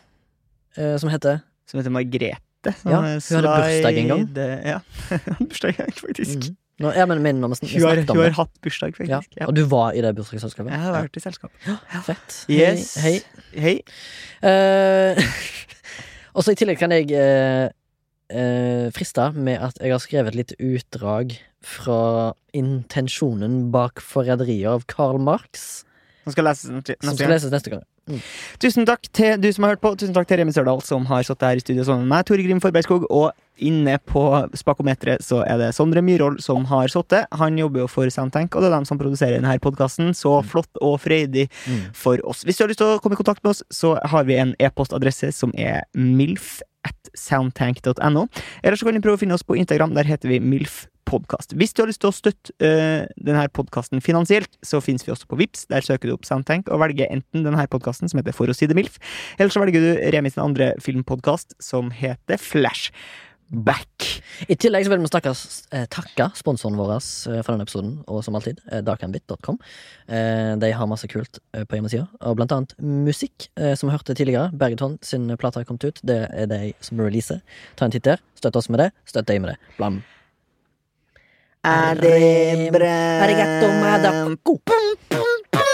Speaker 1: Eh, som heter
Speaker 2: som heter Margrethe. som
Speaker 1: Ja,
Speaker 2: er
Speaker 1: hun hadde bursdag en gang.
Speaker 2: slide- Ja, hun hadde bursdag en gang, faktisk.
Speaker 1: Mhm. Nå, jeg mener, mener når vi sn- vi
Speaker 2: Hun, har,
Speaker 1: snakket om
Speaker 2: hun
Speaker 1: det.
Speaker 2: har hatt bursdag,
Speaker 1: Ja.
Speaker 2: faktisk. Ja.
Speaker 1: Og du var i det bursdagsselskapet?
Speaker 2: Jeg har vært i selskap.
Speaker 1: Ja, Fett.
Speaker 2: Yes.
Speaker 1: Hei. hei.
Speaker 2: Hei.
Speaker 1: Eh, og så i tillegg kan jeg eh, eh, friste med at jeg har skrevet litt utdrag fra intensjonen bak forræderiet av Karl Marx.
Speaker 2: Nå skal jeg lese den til-
Speaker 1: Som
Speaker 2: neste
Speaker 1: skal
Speaker 2: gang.
Speaker 1: leses neste gang.
Speaker 2: Tusen takk til du som har hørt på. Tusen takk til Remi Sørdal, som har sittet her i studio sammen med meg, Tore Grim Forbergskog. Og inne på Spakometeret så er det Sondre Myhrvold som har sittet. Han jobber jo for Soundtank, og det er dem som produserer denne podkasten. Så flott og freidig
Speaker 1: Mm.
Speaker 2: for oss. Hvis du har lyst til å komme i kontakt med oss, så har vi en e-postadresse som er milf at soundtank.no. Eller så kan du prøve å finne oss på Instagram. Der heter vi milfpodkast. Hvis du har lyst til å støtte eh, denne podkasten finansielt, så finnes vi også på Vips. Der søker du opp Soundtank og velger enten denne podkasten, som heter For å si det milf, eller så velger du Remi sin andre filmpodkast, som heter Flashback.
Speaker 1: I tillegg så vil vi stakkars, eh, takke sponsoren vår eh, for denne episoden, og som alltid, eh, dakanbit.com. Eh, de har masse kult eh, på hjemmesida, og blant annet musikk, eh, som vi hørte tidligere. Bergeton sin plate har kommet ut, det er de som releaser. Ta en titt der. Støtt oss med det, støtt deg med det. Blam.
Speaker 2: Er det bra?
Speaker 1: Arigato, madam.